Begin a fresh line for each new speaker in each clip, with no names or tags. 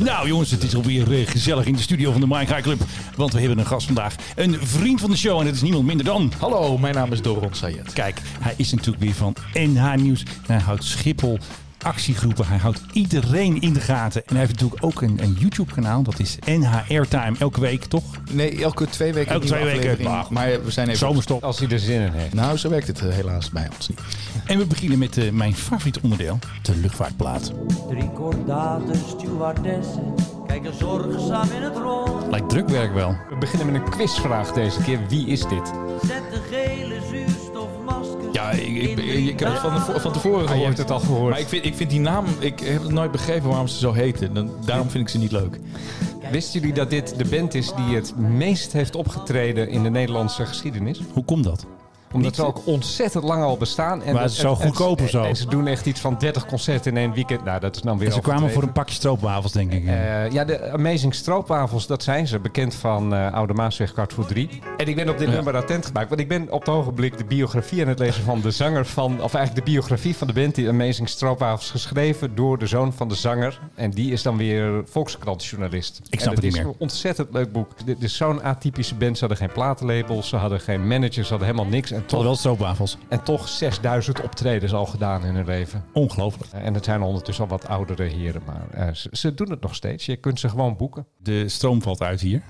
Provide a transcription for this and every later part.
Nou jongens, het is alweer eh, gezellig in de studio van de Minecraft Club. Want we hebben een gast vandaag. Een vriend van de show en dat is niemand minder dan...
Hallo, mijn naam is Doron Sayed.
Kijk, hij is natuurlijk weer van NH Nieuws. Hij houdt Schiphol actiegroepen. Hij houdt iedereen in de gaten. En hij heeft natuurlijk ook een, een YouTube kanaal. Dat is NH Airtime. Elke week, toch?
Nee, elke twee weken.
Elke
een nieuwe
twee weken,
aflevering.
maar goed.
Maar we zijn even.
Zomerstop.
Als hij er zin in heeft.
Nou, zo werkt het eh, helaas bij ons niet.
En we beginnen met eh, mijn favoriete onderdeel. De luchtvaartplaat.
Drie kordaten, stewardessen, kijken zorgzaam in het rond.
Lijkt drukwerk wel.
We beginnen met een quizvraag deze keer. Wie is dit?
Zet de gele zuurstofmaskers
Ja, ik, ik,
in
ik heb het van, de, vo- van tevoren
Ah, je hebt
gehoord.
het al gehoord.
Maar ik vind, ik vind die naam, ik heb het nooit begrepen waarom ze zo heten. Dan, daarom vind ik ze niet leuk.
Wisten jullie dat dit de band is die het meest heeft opgetreden in de Nederlandse geschiedenis?
Hoe komt dat?
Omdat ze ook ontzettend lang al bestaan. En
Maar
dat-
het is zo
en- en-
goedkoper
en-
zo.
En ze doen echt iets van 30 concerten in één weekend. Nou, dat is dan weer
En ze kwamen voor
overdreven.
een pakje stroopwafels, denk ik.
Eh, ja, de Amazing Stroopwafels, dat zijn ze. Bekend van eh Oude Maasweg, Kartvoer 3. En ik ben op dit nummer attent gemaakt. Want ik ben op het ogenblik de biografie aan het lezen van de zanger van... Of eigenlijk de biografie van de band die Amazing Stroopwafels geschreven... door de zoon van de zanger. En die is dan weer volkskrantjournalist.
snap
en
het niet
is
meer.
een ontzettend leuk boek. Dit is zo'n atypische band. Ze hadden geen platenlabels, ze hadden geen managers, ze hadden helemaal niks. En
Toch
toch,
wel stroopwafels.
en toch 6000 optredens al gedaan in hun leven.
Ongelooflijk.
Eh, En het zijn ondertussen al wat oudere heren, maar eh, ze, ze doen het nog steeds. Je kunt ze gewoon boeken.
De stroom valt uit hier.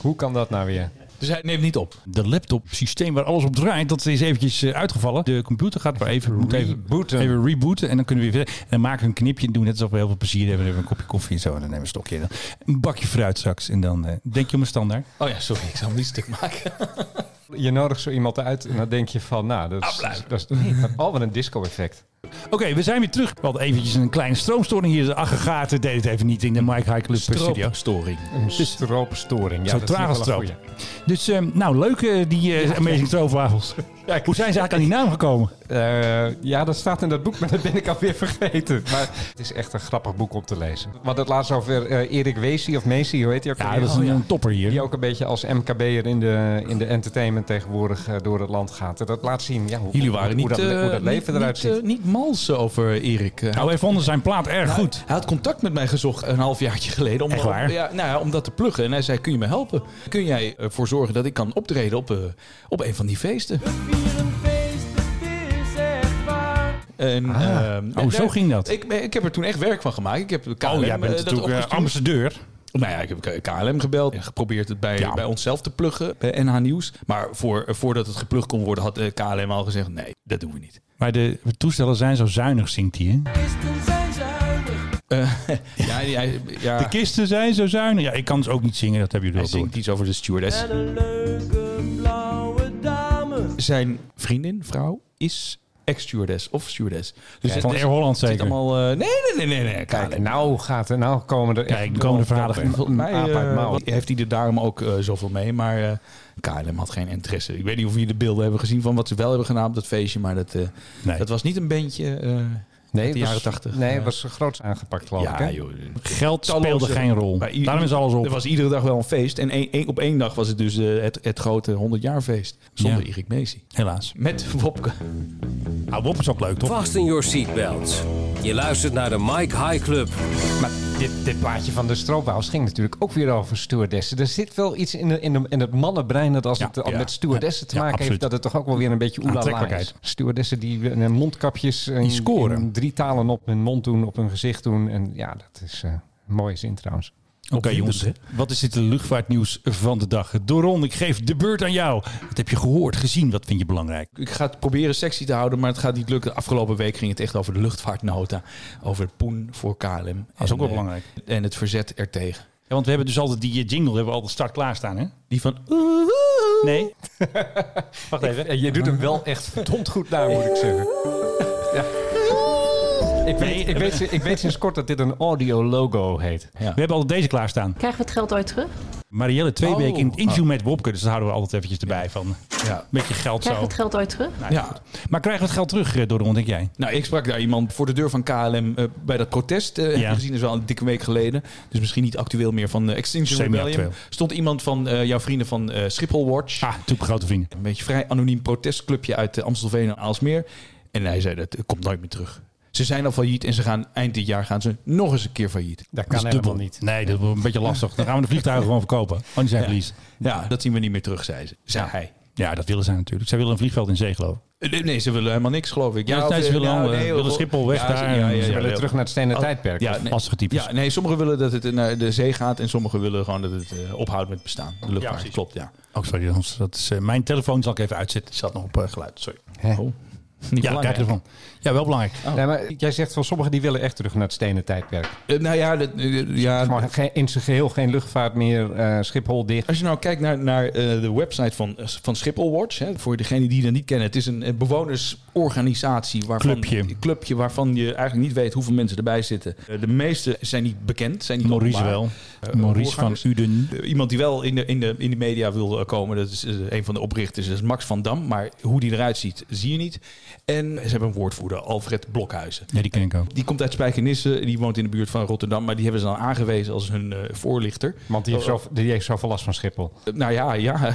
Hoe kan dat nou weer?
Dus hij neemt niet op.
De laptopsysteem waar alles op draait, dat is eventjes eh, uitgevallen. De computer gaat maar even, moet even,
Rebooten.
even rebooten. En dan kunnen we weer verder. En dan maken we een knipje en doen net alsof we heel veel plezier hebben. Dan hebben we een kopje koffie en zo. En dan nemen we een stokje. En dan een bakje fruit straks. En dan eh, denk je om een standaard.
Oh ja, sorry, ik zou hem niet stuk maken.
Je nodigt zo iemand uit en dan denk je van, nou, dat is... dat is nee, maar- oh, wat een disco-effect.
Oké, we zijn weer terug. We hadden eventjes een kleine stroomstoring hier. De aggregaten deed het even niet in de Mike High Club studio.
Stroopstoring.
Een stroopstoring. Ja,
Zo
dat is nog
traag als
wel een
stroop.
goeie.
Dus eh, nou, leuk eh, die eh, Amazing Stroopwafels. Hoe zijn ze eigenlijk aan die naam gekomen?
Eh, ja, dat staat in dat boek, maar dat ben ik alweer vergeten. Maar het is echt een grappig boek om te lezen. We hadden het laatst over eh, Erik Weesie of Meesie, hoe heet hij ook?
Oh, Ja,
alweer? Oh,
dat is een, een topper hier.
Die ook een beetje als MKB'er in de, in de entertainment tegenwoordig eh, door het land gaat. En dat laat zien ja, hoe,
Jullie waren
hoe,
niet,
dat,
eh,
hoe dat leven
niet,
eruit
niet,
ziet.
eh, niet mals over Erik. Eh,
Nou, wij vonden zijn plaat erg
Nou,
goed.
Hij had contact met mij gezocht een halfjaartje geleden. Om,
Echt waar?
Ja, nou ja, om dat te pluggen. En hij zei, kun je me helpen? Kun jij ervoor zorgen dat ik kan optreden op, eh, op een van die feesten?
We vieren feest, het is echt waar.
En, eh,
Oh, zo
daar-
ging dat.
Ik, ik heb er toen echt werk van gemaakt. Ik heb KLM
Oh, jij bent
eh, dat
natuurlijk eh,
opgestuurd.
ambassadeur.
Nou ja, ik heb KLM gebeld en geprobeerd het bij,
Ja.
bij onszelf te pluggen, bij NH Nieuws. Maar voor, eh, voordat het geplugd kon worden, had eh, KLM al gezegd, nee, dat doen we niet.
Maar de toestellen zijn zo zuinig, zingt hij. Hè?
Kisten zijn zuinig.
Eh, ja, hij, ja,
De kisten zijn zo zuinig. Ja, ik kan dus ook niet zingen, dat hebben jullie
hij
wel door.
zingt iets over de stewardess.
En een leuke blauwe dame.
zijn vriendin, vrouw, is ex-stewardess of stewardess. Dus
Van Air Holland
zit
zeker.
allemaal... eh, nee, nee, nee, nee, nee.
Kijk, nou gaat er, nou komen er
Kijk, komen de verhalen.
Een
Mij,
aap uit
eh,
mouw.
wat- heeft hij er daarom ook eh, zoveel mee, maar eh, KLM had geen interesse. Ik weet niet of jullie de beelden hebben gezien van wat ze wel hebben gedaan op dat feestje, maar dat, eh,
Nee.
dat was niet een bandje eh
Nee,
uit de
was-
jaren tachtig.
Nee, was groots aangepakt, geloof ik. Hè?
ja, joh.
Geld speelde
Talloze-
geen rol.
Bij i-
Daarom is alles op.
Er was iedere dag wel een feest en één- één- op één dag was het dus eh, het, het grote 100 jaar feest. Zonder
Ja.
Erik Meesie.
Helaas.
Met Wopke.
Nou, Bob is ook leuk, toch?
Vast in your seatbelts. Je luistert naar de Mike High Club.
Maar dit, dit plaatje van de stroopwafels ging natuurlijk ook weer over stewardessen. Er zit wel iets in, de, in, de, in het mannenbrein dat als
Ja,
het al
ja.
met stewardessen te
Ja,
maken heeft,
absoluut.
dat het toch ook wel weer een beetje oelala
Aantrekkelijkheid.
is. Stewardessen die eh, mondkapjes eh, in-
scoren.
in drie talen op hun mond doen, op hun gezicht doen. En ja, dat is eh, een mooie zin trouwens.
Oké, jongens. Wat is dit de luchtvaartnieuws van de dag? Doron, ik geef de beurt aan jou. Wat heb je gehoord, gezien? Wat vind je belangrijk?
Ik ga het proberen sexy te houden, maar het gaat niet lukken. Afgelopen week ging het echt over de luchtvaartnota. Over het poen voor KLM.
Dat is ook wel
eh,
belangrijk.
En het verzet ertegen.
Ja, want we hebben dus altijd die eh, jingle, hebben we altijd start klaarstaan, hè?
Die van...
Nee? Wacht even.
En je doet hem wel echt verdomd goed na, moet ik zeggen. Ja. Ik, weet, ik, weet, ik weet sinds kort dat dit een audio logo heet.
We hebben altijd deze klaarstaan.
Krijgen we het geld ooit terug?
Marielle, twee
Oh.
weken in het interview met Wopke. Dus daar houden we altijd eventjes erbij van.
Ja.
Met je geld
Krijgen
zo. Nou.
we het geld ooit terug?
ja.
Maar krijgen we het geld terug, eh, Doron, denk jij?
Nou, ik sprak daar iemand voor de deur van KLM eh, bij dat protest. eh, heb
Ja.
je gezien, dat is wel een dikke week geleden. Dus misschien niet actueel meer van eh, Extinction
Semi-actueel.
Rebellion. Stond iemand van eh, jouw vrienden van eh, Schiphol Watch.
Ah, natuurlijk grote vrienden.
Een beetje vrij anoniem protestclubje uit eh, Amstelveen en Aalsmeer. En hij zei, dat eh, komt nooit meer terug. Ze zijn al failliet en ze gaan eind dit jaar gaan ze nog eens een keer failliet.
Dat
Dat
kan
is
helemaal
dubbel.
niet.
Nee, dat wordt een beetje lastig. Dan gaan we de vliegtuigen gewoon verkopen. Want die zijn verlies.
Ja, dat zien we niet meer terug, zei, ze, zei hij.
Ja, dat willen zij natuurlijk. Zij willen een vliegveld in zee geloven.
Eh, Nee, ze willen helemaal niks, geloof ik.
Ja,
of,
nee, ze
eh,
willen
nou,
al, eh,
nee,
willen
of-
Schiphol weg daar en ze
We willen terug naar het stenen tijdperk.
Ja, nee.
Lastige types.
Ja, nee, sommigen willen dat het naar de zee gaat en sommigen willen gewoon dat het eh, ophoudt met bestaan. De luchtvaart,
precies.
klopt, ja.
Oh, sorry. Hans. Dat is, eh, mijn telefoon zal ik even uitzetten. Die zat nog op eh, geluid. Sorry.
Oh.
Hè?
Niet
Ja, kijk ervan. Ja, wel belangrijk.
Nee, maar jij zegt van sommigen die willen echt terug naar het stenen tijdperk.
Eh, nou ja, dat, eh, ja,
Gewoon geen, in zijn geheel geen luchtvaart meer, eh, Schiphol dicht.
Als je nou kijkt naar, naar eh, de website van, eh, van Schiphol Watch, hè, voor degene die dat niet kennen, het is een eh, bewonersorganisatie. Waarvan,
Clubje.
Een clubje waarvan je eigenlijk niet weet hoeveel mensen erbij zitten. Eh, de meeste zijn niet bekend, zijn niet
Maurice
openbaar.
wel.
Eh,
Maurice van
voorgangers.
Uden.
Eh, Iemand die wel in de, in, de, in de media wil eh, komen, dat is eh, een van de oprichters, dat is Max van Dam. Maar hoe die eruit ziet, zie je niet. En ze hebben een woordvoerder, Alfred Blokhuizen. Eh,
Ja, die ken ik ook.
Die komt uit Spijkenisse, die woont in de buurt van Rotterdam, maar die hebben ze dan aangewezen als hun eh, voorlichter.
Want die heeft, zo, die heeft zoveel last van Schiphol.
Nou ja, ja.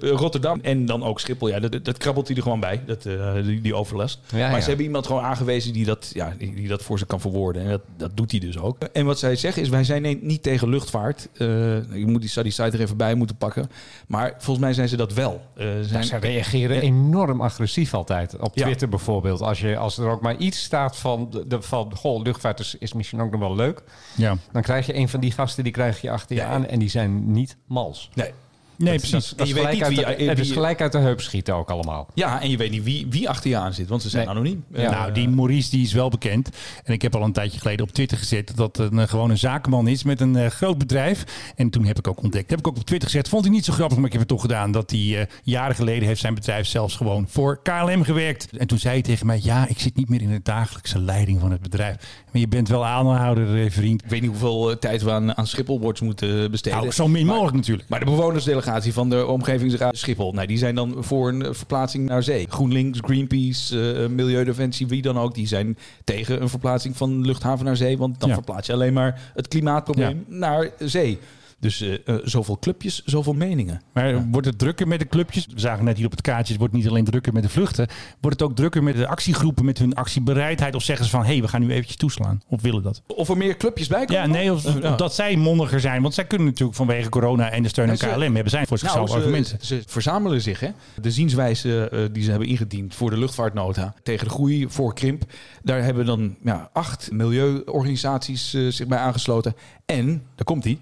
Rotterdam en dan ook Schiphol. Ja, dat, dat krabbelt hij er gewoon bij, dat, eh, die, die overlast.
Ja,
maar
ja.
ze hebben iemand gewoon aangewezen die dat, ja, die, die dat voor ze kan verwoorden. En dat, dat doet hij dus ook. En wat zij zeggen is, wij zijn nee- niet tegen luchtvaart. Eh, ik moet die, zou die site er even bij moeten pakken. Maar volgens mij zijn ze dat wel. Eh, zijn,
Ze reageren enorm agressief altijd. Op
Ja.
Twitter bijvoorbeeld. Als, je, als er ook maar iets staat van, de- de, van goh, luchtvaart is, is misschien ook nog wel leuk.
Ja.
Dan krijg je een van die gasten, die krijg je achter je
Ja.
aan. En die zijn niet mals.
nee.
Nee,
dat
precies.
is-
Dat is
je weet
gelijk
niet
uit
wie-
de-
eh,
Het is
wie-
gelijk uit de heup schieten ook allemaal.
Ja, en je weet niet wie, wie achter je aan zit, want ze zijn
Nee.
anoniem.
Ja.
Eh,
nou, die Maurice die is wel bekend. En ik heb al een tijdje geleden op Twitter gezet dat het een eh, gewone zakenman is met een eh, groot bedrijf. En toen heb ik ook ontdekt, heb ik ook op Twitter gezet, vond hij niet zo grappig, maar ik heb het toch gedaan, dat hij eh, jaren geleden heeft zijn bedrijf zelfs gewoon voor KLM gewerkt. En toen zei hij tegen mij, ja, ik zit niet meer in de dagelijkse leiding van het bedrijf. Maar je bent wel aanhouder, eh, vriend.
Ik weet niet hoeveel eh, tijd we aan, aan Schiphol-boards moeten besteden.
Nou, zo min
Maar-
mogelijk natuurlijk.
Maar de bewonersdelegatie van de omgevingsraad Schiphol, nee, die zijn dan voor een eh, verplaatsing naar zee. GroenLinks, Greenpeace, eh, Milieudefensie, wie dan ook, die zijn tegen een verplaatsing van luchthaven naar zee. Want dan
Ja.
verplaats je alleen maar het klimaatprobleem naar zee. Dus eh, eh, zoveel clubjes, zoveel meningen.
Maar wordt het drukker met de clubjes? We zagen net hier op het kaartje, het wordt niet alleen drukker met de vluchten. Wordt het ook drukker met de actiegroepen, met hun actiebereidheid? Of zeggen ze van, hé, hey, we gaan nu eventjes toeslaan? Of willen dat?
Of er meer clubjes bij komen?
Ja, nee, of,
Ja.
of dat zij mondiger zijn. Want zij kunnen natuurlijk vanwege corona en de steun aan
Ja, ze-
KLM... hebben zij voor zichzelf
Nou, ze,
argumenten.
ze verzamelen zich. Hè? De zienswijze eh, die ze hebben ingediend voor de luchtvaartnota tegen de groei, voor krimp. Daar hebben dan ja, acht milieuorganisaties eh, zich bij aangesloten. En, daar komt die.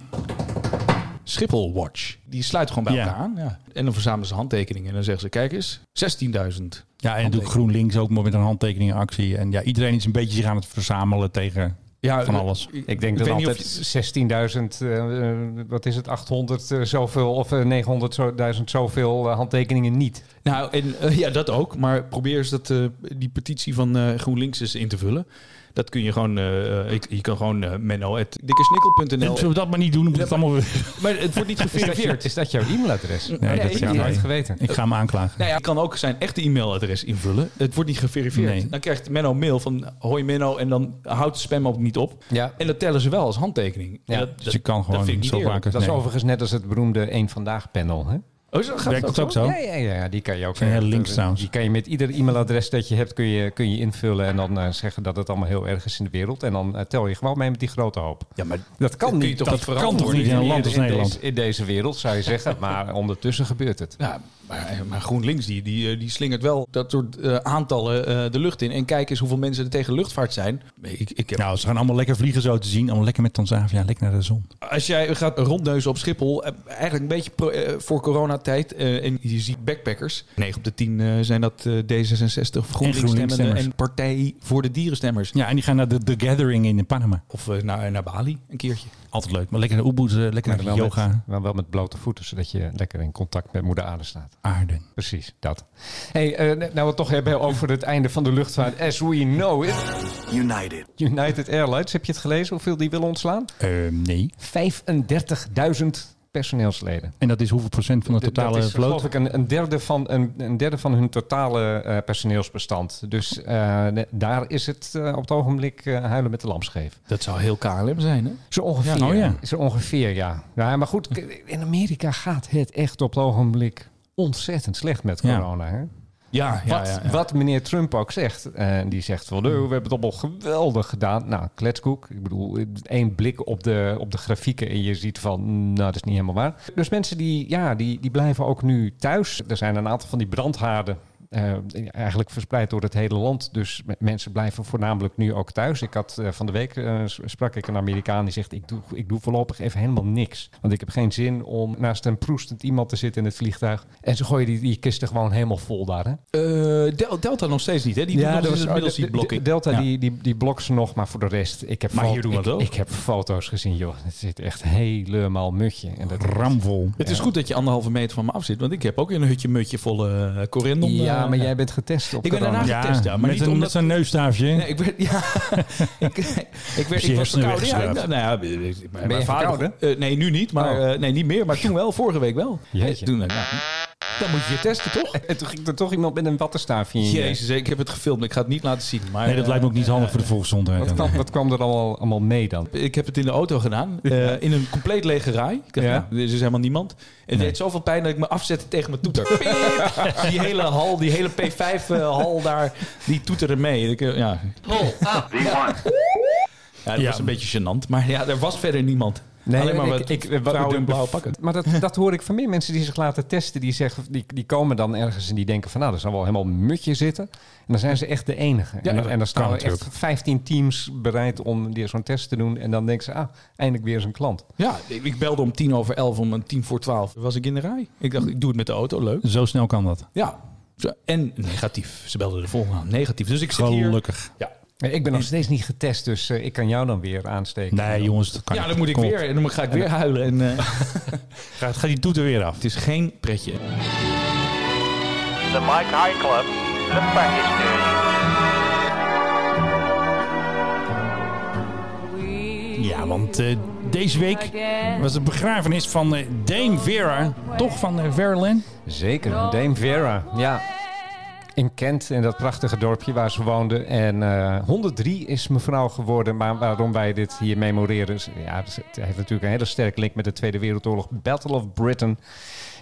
Schiphol Watch. Die sluit gewoon bij
Ja.
elkaar aan. Ja. En dan verzamelen ze handtekeningen. En dan zeggen ze, kijk eens, 16.000.
Ja, en natuurlijk GroenLinks ook maar met een handtekeningenactie. En ja, iedereen is een beetje zich aan het verzamelen tegen
Ja, eh,
van alles.
Ik denk
Ik
dat
weet niet of
altijd 16.000, eh, eh, wat is het, 800 eh, zoveel of eh, 900 zo- duizend zoveel eh, handtekeningen niet.
Nou, en, eh, ja, dat ook. Maar probeer eens dat, eh, die petitie van eh, GroenLinks eens in te vullen. Dat kun je gewoon, eh, eh, ik, je kan gewoon eh, menno.dikkersnikkel.nl.
Zullen we dat maar niet doen? Dan moet het allemaal weer-
Maar het wordt niet
Is dat,
geverifieerd.
is dat jouw e-mailadres?
Nee, dat
ik
zou
heb
ik
nooit
niet.
geweten.
Ik ga hem aanklagen.
Nou ja, je kan ook zijn echte e-mailadres invullen. Het wordt niet geverifieerd.
Nee.
Dan krijgt Menno een mail van hoi Menno en dan houdt de spam ook niet op.
Ja.
En dat tellen ze wel als handtekening.
Ja,
En dat,
Dus je kan gewoon
vind ik niet
zo
eerlijk.
vaak...
Dat is
nee.
overigens net als het beroemde Eén Vandaag panel. Hè?
Oh, zo gaat
Werkt
dat
het ook zo?
Ja, ja, ja, ja, die kan je ook.
Zijn heel
eh,
links trouwens.
Die kan je met ieder e-mailadres dat je hebt, kun je, kun je invullen en dan eh, zeggen dat het allemaal heel erg is in de wereld. En dan eh, tel je gewoon mee met die grote hoop.
Ja, maar
Dat kan
kun je
niet.
toch
dat
niet
kan
verantwoorden?
toch niet in een land als
deze-
Nederland?
in deze wereld zou je zeggen, maar ondertussen gebeurt het.
Ja, maar, maar GroenLinks die, die, eh, die slingert wel dat soort eh, aantallen eh, de lucht in. En kijk eens hoeveel mensen er tegen luchtvaart zijn. Ik, ik heb,
Nou, ze gaan allemaal lekker vliegen zo te zien. Allemaal lekker met Tanzavia, lekker naar de zon.
Als jij gaat rondneuzen op Schiphol, eh, eigenlijk een beetje pro- eh, voor coronatijd. eh, en je ziet backpackers. 9 op de 10 eh, zijn dat eh, D66 of
GroenLinks
GroenLinks-stemmenden.
stemmers.
En Partij voor de Dierenstemmers.
Ja, en die gaan naar de, The Gathering in Panama.
Of eh, naar, naar Bali een keertje.
Altijd leuk. Maar lekker naar Ubud, eh, lekker naar
wel
de yoga.
Met, maar wel met blote voeten, zodat je lekker in contact met moeder aarde staat.
Aarden.
Precies, dat. Hey, eh, nou we het toch hebben over het einde van de luchtvaart. As we know it.
United.
United Airlines, heb je het gelezen hoeveel die willen ontslaan?
Eh, nee.
35.000 personeelsleden.
En dat is hoeveel procent van de
D-
totale
dat is, eh,
vloot?
geloof ik een, een, derde van, een, een derde van hun totale eh, personeelsbestand. Dus eh, ne- daar is het eh, op het ogenblik eh, huilen met de lamscheef.
Dat zou heel KLM zijn, hè?
Zo ongeveer.
Ja, oh ja. Hm.
Zo ongeveer, ja. ja. Maar goed, k- in Amerika gaat het echt op het ogenblik ontzettend slecht met
Ja.
corona. Hè?
Ja, ja,
wat,
ja, ja.
wat meneer Trump ook zegt. En die zegt van, "Oh, we hebben het allemaal geweldig gedaan. Nou, kletskoek. Ik bedoel, één blik op de, op de grafieken en je ziet van, mm, nou, dat is niet helemaal waar. Dus mensen die, ja, die, die blijven ook nu thuis. Er zijn een aantal van die brandhaarden. eh, eigenlijk verspreid door het hele land. Dus m- mensen blijven voornamelijk nu ook thuis. Ik had eh, van de week eh, s- sprak ik een Amerikaan die zegt: ik doe, ik doe voorlopig even helemaal niks. Want ik heb geen zin om naast een proestend iemand te zitten in het vliegtuig. En ze gooien die, die kisten gewoon helemaal vol daar. Hè?
Eh, Del- Delta nog steeds niet, hè? Die doen nog steeds
oh,
inmiddels
de-
die
de-
blocking.
Delta
Ja.
die, die, die blokt ze nog, maar voor de rest. Ik heb
Maar
fo-
hier doen we
ik,
het ook.
Ik heb foto's gezien, joh. Het zit echt helemaal mutje. En dat
Ramvol.
Het is goed dat je anderhalve meter van me af zit, want ik heb ook een hutje mutje vol eh corindon.
Ja,
eh,
maar jij bent getest op
Ik ben
corona.
daarna getest, ja. Maar
met,
niet
een,
omdat...
met zo'n neusstaafje.
Nee, ik werd... Ja, ik, ik, werd,
je
ik was
hersenen
verkouden. Ja,
weggeschraapt.
nou, nou ja, ben je
je verkouden?
nee, nu niet, maar
Oh.
eh, nee, niet meer. Maar toen wel, vorige week wel.
Jeetje.
Toen, eh, nou, dan moet je je testen, toch?
En toen ging er toch iemand met een wattenstaafje in. je-
Jezus, ik heb het gefilmd. Ik ga het niet laten zien. Maar,
Nee, dat
eh,
lijkt me ook niet handig voor de volksgezondheid.
Wat kwam, wat kwam er allemaal, allemaal mee dan?
Ik heb het in de auto gedaan. eh, in een compleet lege raai. Ik dacht,
Ja.
nou, er is helemaal niemand. Het deed zoveel pijn dat ik me afzette tegen mijn toeter. Piep. die hele hal, die hele P5-hal daar, die toeterde mee. Ik, eh, ja. Ja, dat
Ja.
was een beetje gênant. Maar ja, er was verder niemand. Alleen maar wat vrouwen in blauw pakken.
Maar dat, dat hoor ik van meer mensen die zich laten testen. Die, zeggen, die, die komen dan ergens en die denken van... nou, er zal wel helemaal een mutje zitten. En dan zijn ze echt de enige. en, dan- en dan staan er echt 15 teams bereid om die- zo'n test te doen. En dan denken ze, ah, eindelijk weer eens een klant.
Ja, ik ik belde om tien over elf, om een tien voor twaalf was ik in de rij. Ik dacht, ik doe het met de auto, leuk.
Zo snel kan dat.
Ja, Zo, en negatief. Ze belden de volgende aan, negatief. Dus ik zit hier.
Gelukkig.
Ja,
Eh, Ik ben nog steeds niet getest, dus eh, ik kan jou dan weer aansteken.
Nee, jongens, dat kan
ja
niet.
dan moet ik
Kom op.
weer. En dan ga ik weer huilen. En, eh,
Gaat, gaat die toeter weer af.
Het is geen pretje.
The Mike High Club, the practice station.
Ja, want eh, deze week was de begrafenis van eh, Dame Vera. Toch van eh, Vera Lynn?
Zeker, Dame Vera. Ja. In Kent, in dat prachtige dorpje waar ze woonde. En eh, 103 is mevrouw geworden. Maar waarom wij dit hier memoreren... is- Ja, dus het heeft natuurlijk een hele sterke link met de Tweede Wereldoorlog. Battle of Britain.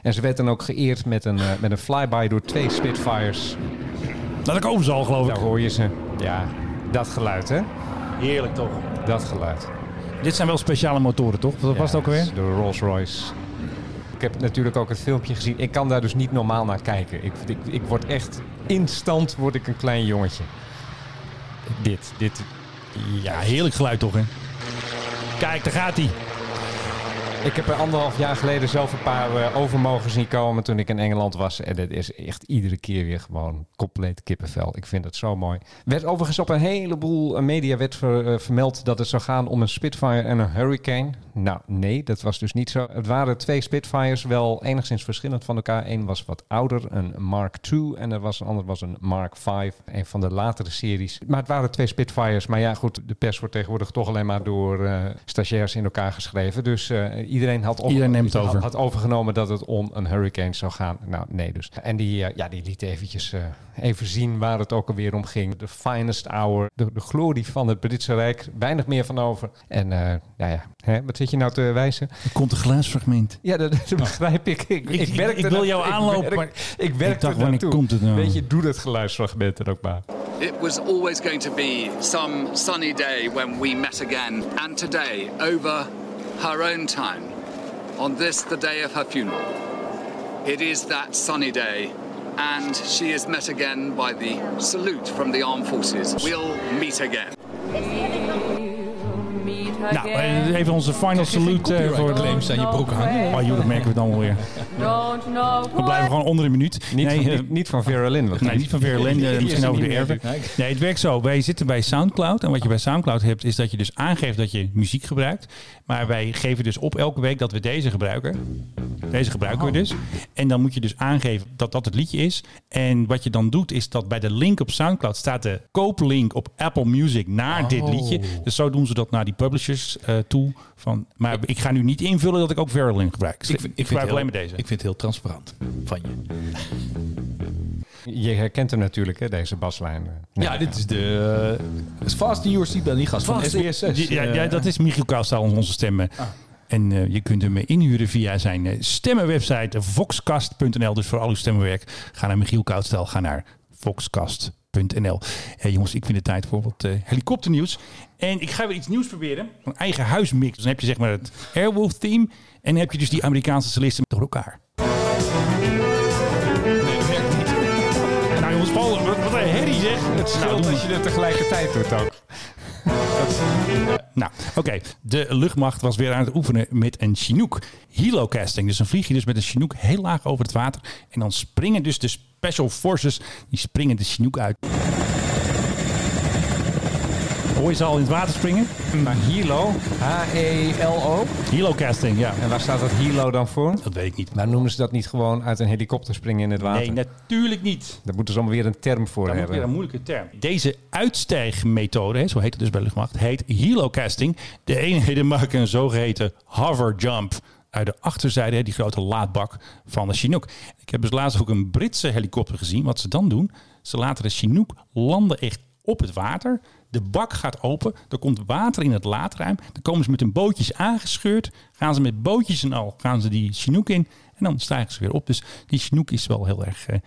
En ze werd dan ook geëerd met een, eh, met een flyby door twee Spitfires.
Nou, daar komen ze al, geloof ik.
Daar hoor je ze. Ja, dat geluid, hè?
Heerlijk, toch?
Dat geluid.
Dit zijn wel speciale motoren, toch? Wat was het ook
Ja,
weer?
is De Rolls Royce. Ik heb natuurlijk ook het filmpje gezien. Ik kan daar dus niet normaal naar kijken. Ik, ik, ik word echt instant word ik een klein jongetje. Dit, dit.
Ja, heerlijk geluid, toch? Hè? Kijk, daar gaat hij.
Ik heb er anderhalf jaar geleden zelf een paar eh, overmogen zien komen toen ik in Engeland was. En dit is echt iedere keer weer gewoon compleet kippenvel. Ik vind het zo mooi. Werd overigens op een heleboel eh, media werd ver- eh, vermeld dat het zou gaan om een Spitfire en een Hurricane. Nou, nee, dat was dus niet zo. Het waren twee Spitfires, wel enigszins verschillend van elkaar. Eén was wat ouder, een Mark II. En er was een ander was een Mark V, een van de latere series. Maar het waren twee Spitfires. Maar ja, goed, de pers wordt tegenwoordig toch alleen maar door eh, stagiairs in elkaar geschreven. Dus eh, iedereen had op-
Iedereen neemt het
had-
over.
had overgenomen dat het om een hurricane zou gaan. Nou, nee dus. En die, eh, ja, die liet eventjes eh, even zien waar het ook alweer om ging. De finest hour, de, de glorie van het Britse Rijk. Weinig meer van over. En eh, nou ja, hè, wat zit je nou te wijzen?
Er komt een glaasfragment.
Ja, dat, dat begrijp ik. Ik,
Nou. Ik- ik-
werkte
ik wil
daar-
jou aanlopen,
Ik,
maar
werk, ik
ik
werkte
dacht, wanneer
daartoe.
komt het nou?
Weet je, doe dat geluidsfragment er ook maar.
It was always going to be some sunny day when we met again, and today, over her own time, on this, the day of her funeral. It is that sunny day, and she is met again by the salute from the armed forces. We'll meet again.
Nou, eh, even onze final salute eh, voor de
claims aan je broek hangen.
Oh, joh, dat merken we dan wel weer. We blijven gewoon onder een minuut.
Niet,
nee,
van,
eh,
niet, niet van Vera Lynn. want
Nee,
die-
niet van Vera Lynn, eh,
die is
misschien
er
over
niet
de
meer.
erven. Nee, het werkt zo. Wij zitten bij Soundcloud. En wat je bij Soundcloud hebt, is dat je dus aangeeft dat je muziek gebruikt. Maar wij geven dus op elke week dat we deze gebruiken. Deze gebruiken we dus. En dan moet je dus aangeven dat dat het liedje is. En wat je dan doet, is dat bij de link op Soundcloud staat de kooplink op Apple Music naar dit liedje. Dus zo doen ze dat naar die publishers eh, toe. Van, maar ik ga nu niet invullen dat ik ook Vera Lynn gebruik. Ik, gebruik alleen maar deze.
Ik vind het heel transparant van je.
Je herkent hem natuurlijk, hè, deze baslijn.
Nou,
Ja, dit is de... eh, Fast in your seatbelt, die gast van SBS6.
Ja, ja, dat is Michiel Kaalstaal, onze stemmen. En eh, je kunt hem eh, inhuren via zijn eh, stemmenwebsite eh, voxcast.nl. Dus voor al uw stemmenwerk, ga naar Michiel Koudstel, ga naar voxcast.nl. Eh, jongens, ik vind het tijd voor wat eh, helikopternieuws. En ik ga weer iets nieuws proberen. Een eigen huismix. Dus dan heb je zeg maar het Airwolf theme. En dan heb je dus die Amerikaanse solisten door elkaar. Nou jongens, Paul, wat wat een herrie zeg. Het scheelt
Als je het tegelijkertijd doet ook.
Nou, oké. De luchtmacht was weer aan het oefenen met een Chinook. Helocasting. Dus dan vlieg je dus met een Chinook heel laag over het water. En dan springen dus de Special Forces, die springen de Chinook uit. Hoor je ze al in het water springen?
Maar Hilo, H-E-L-O.
Helocasting, ja.
En waar staat dat Hilo dan voor?
Dat weet ik niet.
Maar noemen ze dat niet gewoon uit een helikopter springen in het water?
Nee, natuurlijk niet.
Daar moeten ze allemaal weer een term voor
Dat is weer
hebben.
een moeilijke term. Deze uitstijgmethode, hè, zo heet het dus bij de luchtmacht, heet helocasting. De eenheden maken een zogeheten hover jump uit de achterzijde, hè, die grote laadbak van de Chinook. Ik heb dus laatst ook een Britse helikopter gezien. Wat ze dan doen, ze laten de Chinook landen echt op het water. De bak gaat open, er komt water in het laadruim. Dan komen ze met hun bootjes aangescheurd. Gaan ze met bootjes en al, gaan ze die Chinook in. En dan stijgen ze weer op. Dus die Chinook is wel heel erg eh,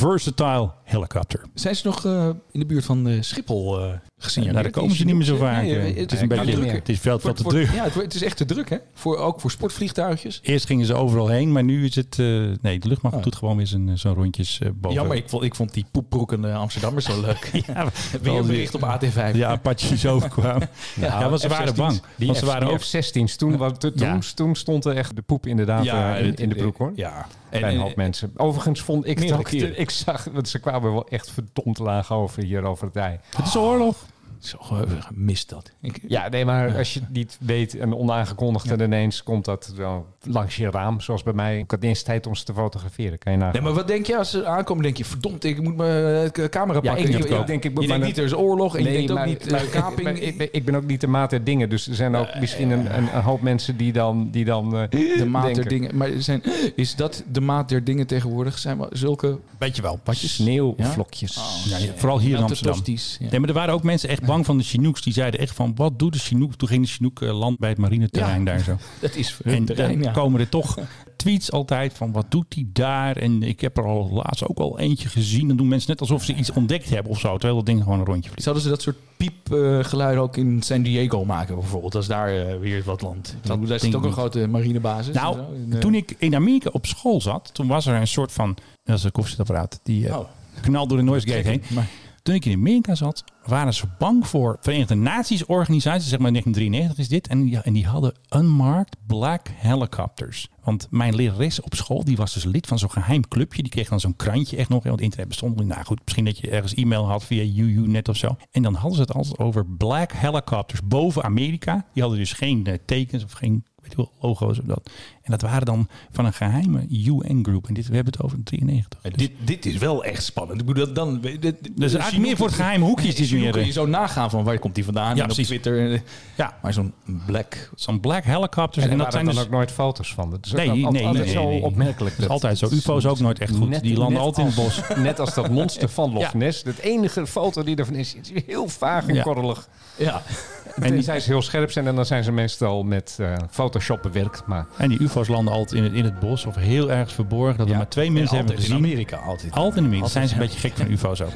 versatile helicopter.
Zijn ze nog eh, in de buurt van eh, Schiphol eh gezien?
Ja, nou, daar komen ze niet meer zo vaak.
eh,
eh. het is een beetje
drukker.
Het is veel, veel te druk.
Ja, het, wordt- het is echt te druk, hè? Voor, ook voor sportvliegtuigjes.
Eerst gingen ze overal heen, maar nu is het... eh, nee, de luchtmacht
Ah.
doet gewoon weer zijn, zijn rondjes eh, boven.
Jammer, ik vond, ik vond die poepbroeken eh, Amsterdammers zo leuk.
Ja,
Weer een bericht op AT5.
De Apaches overkwamen. ja, want ze waren bang. want
Die, Nou, F,
ze waren
die
ook...
F-16's, toen, wa- to-
Ja.
toen, toen stond er echt de poep inderdaad
Ja,
eh, in,
het-
in de broek hoor.
Ja. eh,
Bij een hoop mensen. Overigens vond ik het
Meerdere
ook,
keren.
ik zag, want ze kwamen wel echt verdomd laag over hier over het ei.
Het is oorlog.
Zo eh, gemist dat. Ik-
Ja, nee, maar als je het niet weet en onaangekondigd en ineens komt dat wel langs je raam, zoals bij mij. Ik had niet eens tijd om ze te fotograferen. Kan je nagaan.
Nee, maar wat denk je als ze aankomen? Denk je, verdomd, ik moet mijn eh, camera
Ja,
pakken.
ik denk ook. Ik denk, ik moet
je denkt
maar-
niet, er is oorlog. En
Nee,
je denkt ook
maar-
niet,
maar-
eh, kaping.
maar ik, ik ben ook niet de maat der dingen. Dus er zijn ook misschien een, een, een hoop mensen die dan... Die dan eh,
de maat
denken.
der dingen. Maar er zijn, is dat de maat der dingen tegenwoordig? Zijn we zulke
Weet je wel.
Sneeuwvlokjes.
Ja,
Oh,
vooral hier in Amsterdam.
tosti's? Ja.
Nee, maar er waren ook mensen echt bang van de Chinooks. Die zeiden echt van, wat doet de Chinook? Toen ging de Chinook eh, land bij het marineterrein
Ja.
daar zo.
Dat is voor
En
hun
dan
terrein, ja.
komen er toch tweets altijd van wat doet hij daar? En ik heb er al laatst ook al eentje gezien. Dan doen mensen net alsof ze iets ontdekt hebben of zo. Terwijl dat ding gewoon een rondje vliegt.
Zouden ze dat soort piepgeluiden ook in San Diego maken bijvoorbeeld? Als daar eh, weer wat land. Dat daar
denk
zit ook
ik
een
niet.
grote marinebasis.
Nou,
en zo. En, eh,
toen ik in Amerika op school zat, toen was er een soort van... Dat is een koffiezetapparaat. Die eh,
Oh.
knal door de noise gate heen.
maar-
Toen ik in Amerika zat, waren ze bang voor Verenigde Naties organisaties. Zeg maar 1993 is dit. En die, en die hadden unmarked black helicopters. Want mijn lerares op school, die was dus lid van zo'n geheim clubje. Die kreeg dan zo'n krantje echt nog. hè, Want internet bestond nog niet. Nou goed, misschien dat je ergens e-mail had via UUNet of zo. En dan hadden ze het altijd over black helicopters boven Amerika. Die hadden dus geen eh, tekens of geen weet je wel, logo's of dat. En dat waren dan van een geheime UN-groep. En dit, we hebben het over 93. Dus-
Dit, dit is wel echt spannend. Ik bedoel, dat dan, dit, dit-
dus eigenlijk meer voor het geheim hoekjes die ze
Chinook
meer-
kun je zo nagaan van waar komt die vandaan
Ja,
en op
precies.
Twitter. eh,
Ja.
Maar zo'n black...
Zo'n black helicopters.
En,
En,
daar
dat
waren
zijn
dan
dus
ook nooit foto's van. Dat is
Nee,
ook al-
nee, nee,
altijd
nee,
zo
nee.
opmerkelijk.
Dat is altijd zo. UFO's ook nooit echt goed.
Net-
die landen
net
altijd in het
als-
bos.
Net als dat monster van Loch
Ja.
Ness. Het enige foto die ervan is, is heel vaag en
dus- Ja.
korrelig.
Ja.
En die,
Tenzij ze heel scherp zijn en dan zijn ze meestal met eh, Photoshop bewerkt. Maar
en die UFO's landen altijd in het, in het bos of heel erg verborgen. Dat er maar twee mensen hebben
altijd in
gezien.
Amerika. Altijd.
Altijd in Amerika. Zijn ze een beetje gek van UFO's ook.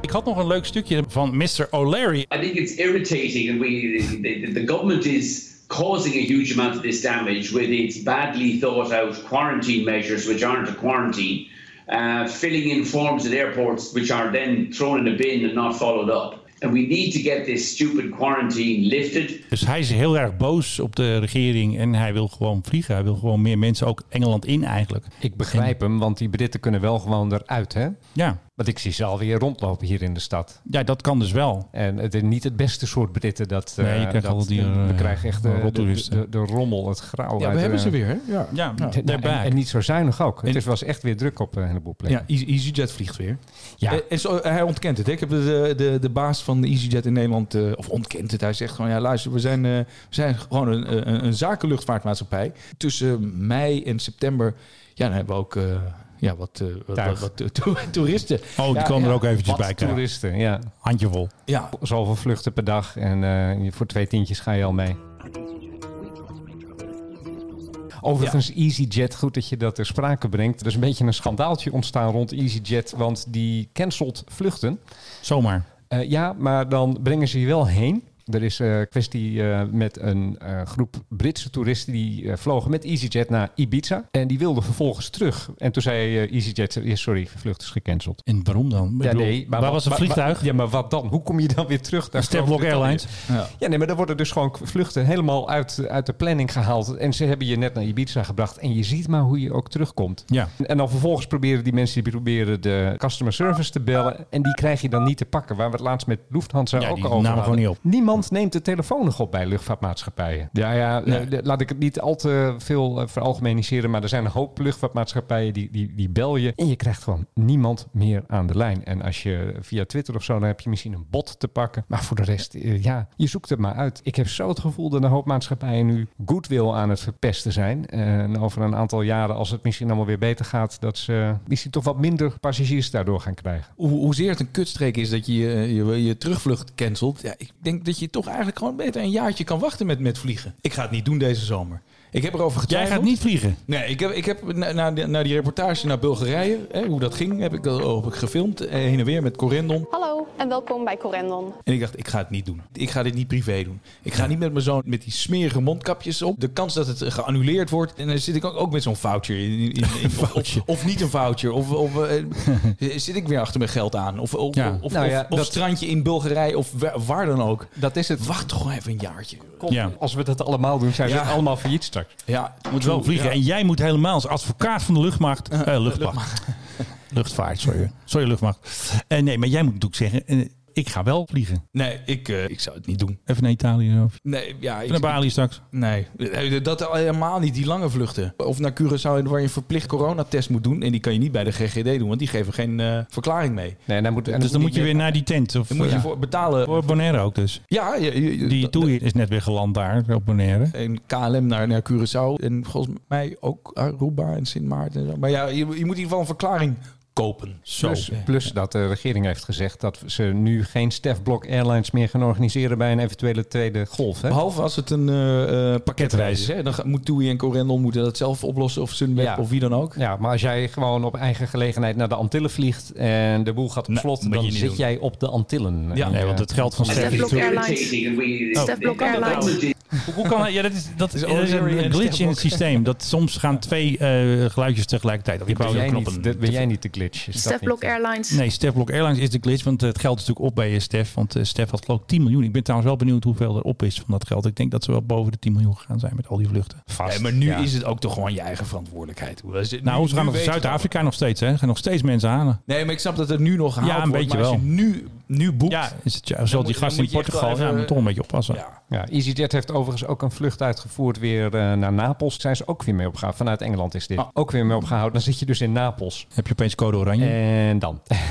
Ik had nog een leuk stukje van Mr. O'Leary.
I think it's irritating that we the, the government is causing a huge amount of this damage with its badly thought out quarantine measures, which aren't a quarantine, uh, filling in forms at airports, which are then thrown in a bin and not followed up. And we need to get this stupid quarantine lifted.
Dus hij is heel erg boos op de regering. En hij wil gewoon vliegen. Hij wil gewoon meer mensen ook Engeland in eigenlijk.
ik begrijp hem, want die Britten kunnen wel gewoon eruit, hè?
Ja,
Want ik zie ze alweer rondlopen hier in de stad.
ja dat kan dus wel.
En het is niet het beste soort Britten dat... eh,
Nee, je krijgt
dat-
altijd die, eh,
we krijgen echt de, de,
rottoeristen.
de, de rommel, het grauw.
Ja,
uit
we
de-
hebben ze weer. hè? Ja.
Ja,
Ja,
they're
Nou, en,
back.
en niet zo zuinig ook. Het
En-
is, was echt weer druk op eh, een heleboel plekken.
Ja, Easy- EasyJet vliegt weer.
Ja.
Eh, En zo, hij ontkent het. hè. Ik heb de, de, de baas van de EasyJet in Nederland, eh, of ontkent het, hij zegt gewoon, ja luister, we zijn, eh, we zijn gewoon een, eh, een, een zakenluchtvaartmaatschappij. Tussen mei en september, ja, dan hebben we ook eh, ja, wat, eh, wat,
Tuig.
wat, wat, eh, to- toeristen.
Oh, die
Ja,
komen
ja.
er ook eventjes
Wat
bij kijken.
toeristen, ja.
Handjevol.
Ja,
Zoveel vluchten per dag en eh, voor twee tientjes ga je al mee. Overigens, EasyJet, goed dat je dat ter sprake brengt. Er is een beetje een schandaaltje ontstaan rond EasyJet, want die cancelt vluchten.
Zomaar.
Eh, ja, maar dan brengen ze je wel heen. Er is een kwestie eh, met een eh, groep Britse toeristen die eh, vlogen met EasyJet naar Ibiza. En die wilden vervolgens terug. En toen zei eh, EasyJet, ja, sorry, vlucht is gecanceld.
En waarom dan? Ik bedoel, waar
wat-
was het
maar-
vliegtuig?
maar- ja, maar wat dan? Hoe kom je dan weer terug naar
Steplock
Groot-Brittannië?
Airlines.
Ja.
Ja, nee, maar daar worden dus gewoon k- vluchten helemaal uit, uit de planning gehaald. En ze hebben je net naar Ibiza gebracht. En je ziet maar hoe je ook terugkomt.
Ja.
En dan vervolgens proberen die mensen die proberen de customer service te bellen. En die krijg je dan niet te pakken. Waar we het laatst met Lufthansa
Ja,
ook
die
al over
namen gewoon
hadden.
niet op.
Niemand neemt de telefoon nog op bij luchtvaartmaatschappijen. Ja, ja. eh, de- Laat ik het niet al te veel eh, veralgemeniseren. Maar er zijn een hoop luchtvaartmaatschappijen die, die, die bel je. En je krijgt gewoon niemand meer aan de lijn. En als je via Twitter of zo, dan heb je misschien een bot te pakken. Maar voor de rest, eh, ja, je zoekt het maar uit. Ik heb zo het gevoel dat een hoop maatschappijen nu goodwill aan het verpesten zijn. En over een aantal jaren, als het misschien allemaal weer beter gaat, dat ze eh, misschien toch wat minder passagiers daardoor gaan krijgen.
Hoe, hoezeer het een kutstreek is dat je eh, je, je terugvlucht cancelt. Ja, ik denk dat je toch eigenlijk gewoon beter een jaartje kan wachten met, met vliegen. Ik ga het niet doen deze zomer. Ik heb erover
Jij
getwijfeld.
gaat niet vliegen.
Nee, ik heb, ik heb na, na, na die reportage naar Bulgarije, hè, hoe dat ging, heb ik, dat ook gefilmd. eh, Heen en weer met Corendon.
Hallo en welkom bij Corendon.
En ik dacht, ik ga het niet doen. Ik ga dit niet privé doen. Ik ga niet met mijn zoon met die smerige mondkapjes op. De kans dat het eh, geannuleerd wordt. En dan zit ik ook, ook met zo'n voucher. In, in, in- of- Of, of niet een voucher. Of, of eh, zit ik weer achter mijn geld aan. Of, of,
Ja.
of,
Nou ja,
of- of
dat-
strandje in Bulgarije. Of wa- waar dan ook.
Dat is het.
Wacht toch even een jaartje.
Ja.
Als we dat allemaal doen, zijn we
Ja.
allemaal failliet straks.
Ja,
Moet wel vliegen. En jij moet helemaal als advocaat van de luchtmacht. eh, luchtmacht. Luchtvaart, sorry. Sorry, luchtmacht. Eh, nee, maar jij moet natuurlijk zeggen. eh, ik ga wel vliegen.
Nee, ik, eh, ik zou het niet doen.
Even naar Italië of
Nee, ja, ik,
naar Bali straks.
Nee, eh, dat al helemaal niet. Die lange vluchten. Of naar Curaçao waar je een verplicht coronatest moet doen. En die kan je niet bij de GGD doen, want die geven geen eh, verklaring mee.
Nee, en dan moet, en
Dus dan moet je
meer-
weer naar die tent. Of,
Dan moet je
ja.
voor betalen.
Voor Bonaire ook dus.
Ja, je- je-
Die
dat-
Toei is net weer geland daar op Bonaire.
En KLM naar, naar Curaçao. En volgens mij ook Aruba en Sint Maarten. en zo. Maar ja, je, je moet in ieder geval een verklaring kopen. Dus, eh, Zo.
Plus, plus dat de regering heeft gezegd dat ze nu geen Stefblok Airlines meer gaan organiseren bij een eventuele tweede golf. Hè?
Behalve als het een eh, eh, pakketreis is. Hè? Dan ga- moet TUI en Corendon moeten dat zelf oplossen. Of Sunweb
Ja.
of wie dan ook.
Ja, maar als jij gewoon op eigen gelegenheid naar de Antillen vliegt en de boel gaat op
Nee,
slot,
moet je
dan
niet
zit
doen.
jij op de Antillen.
Ja.
En,
Nee,
eh,
want het geld van
And
Stef.
that is
Block Airlines.
irritating, and we-
Stef Block
the government
Airlines.
is
Hoe kan dat? Ja, dat is, dat is,
is
dat is
O'Leary
een
en
glitch in
Stef
het systeem. Dat soms gaan twee eh, geluidjes tegelijkertijd. Of ik
ben,
wou
jij
knoppen.
niet, de, ben jij niet de glitch? Is dat
Stefblok
niet, eh,
Airlines.
Nee, Stef Blok Airlines is de glitch, want het geld is natuurlijk op bij eh, Stef. Want eh, Stef had geloof ik 10 miljoen. Ik ben trouwens wel benieuwd hoeveel er op is van dat geld. Ik denk dat ze wel boven de 10 miljoen gaan zijn met al die vluchten.
Nee, maar nu is het ook toch gewoon je eigen verantwoordelijkheid. Hoe is het-
Nou,
nu-
ze gaan
nu
nog
weten we-
Zuid-Afrika nog steeds, hè? Er gaan nog steeds mensen halen.
Nee, maar ik snap dat het nu nog gehaald
Ja, een
wordt.
beetje
maar als je
wel.
nu, nu boekt...
Ja,
Ja,
is het, ja zoals die
moet-
gast
dan
in
moet je echt wel
Portugal.
even-
ja, moet toch een beetje oppassen.
Ja, EasyJet heeft overigens ook een vlucht uitgevoerd weer eh, naar Napels. Zijn ze ook weer mee opgehouden. Vanuit Engeland is dit.
Ah.
Ook weer mee opgehouden. Dan zit je dus in Napels.
Heb je opeens code oranje?
En dan.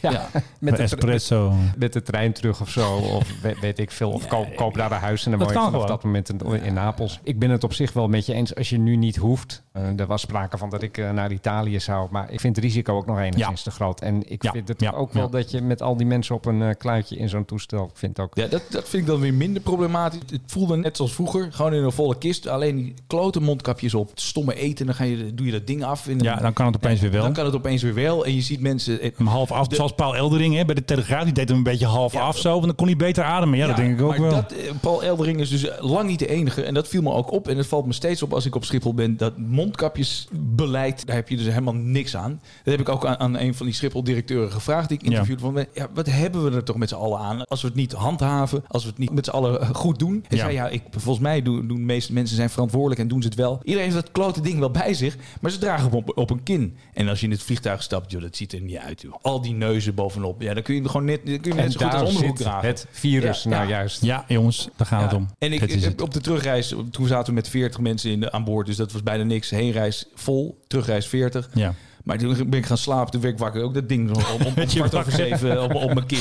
ja, Met de-
Hm. espresso.
met de trein terug of zo. Of we- weet ik veel. Of koop, koop daar een huis en dan
Dat
woon je
kan
vanaf dat
gewoon.
moment in, in Napels. Ik ben het op zich wel met je eens als je nu niet hoeft. Eh, er was sprake van dat ik eh, naar Italië zou. Maar ik vind het risico ook nog enigszins
Ja.
te groot. En ik
Ja,
vind het
ja,
ook wel
ja.
dat je met al die mensen op een eh, kluitje in zo'n toestel. Ik vind het ook.
Ja, dat, dat vind ik dan weer minder problematisch. Het voelde net zoals vroeger, gewoon in een volle kist. Alleen die klote mondkapjes op, het stomme eten, dan ga je, doe je dat ding af. En
Ja, dan kan het opeens weer wel.
Dan kan het opeens weer wel. En je ziet mensen... eh,
Hem half af,
De-
zoals Paul Eldering hè, bij de Telegraaf. Die deed hem een beetje half
Ja.
af zo. Want dan kon hij beter ademen. Ja, dat denk ik ook
maar
wel.
Dat, eh, Paul Eldering is dus eh, lang niet de enige. En dat viel me ook op. En het valt me steeds op als ik op Schiphol ben. Dat mondkapjesbeleid, daar heb je dus helemaal niks aan. Dat heb ik ook aan, aan een van die Schiphol-directeuren gevraagd. Die ik interviewde van, ja, wat hebben we er toch met z'n allen aan? Als we het niet handhaven, als we het niet met z'n allen eh, goed doen. Hij
Ja.
zei, ja, ik, volgens mij doen, doen de meeste mensen zijn verantwoordelijk en doen ze het wel. Iedereen heeft dat klote ding wel bij zich. Maar ze dragen hem op, op een kin. En als je in het vliegtuig stapt, joh, dat ziet er niet uit. Joh. Al die neuzen bovenop. Ja, dan kun je gewoon net, dan kun je net zo goed als onderhoek dragen.
het virus
Ja,
nou
ja.
juist.
Ja, jongens, daar gaat het om.
En ik, eh,
Dit is
ik-
het.
op de terugreis, toen zaten we met 40 mensen in de, aan boord. Dus dat was bijna niks. Heenreis vol, terugreis 40.
Ja.
Maar toen ben ik gaan slapen, toen werd ik wakker. Ook dat ding nog om, om kwart over zeven op, op mijn kin.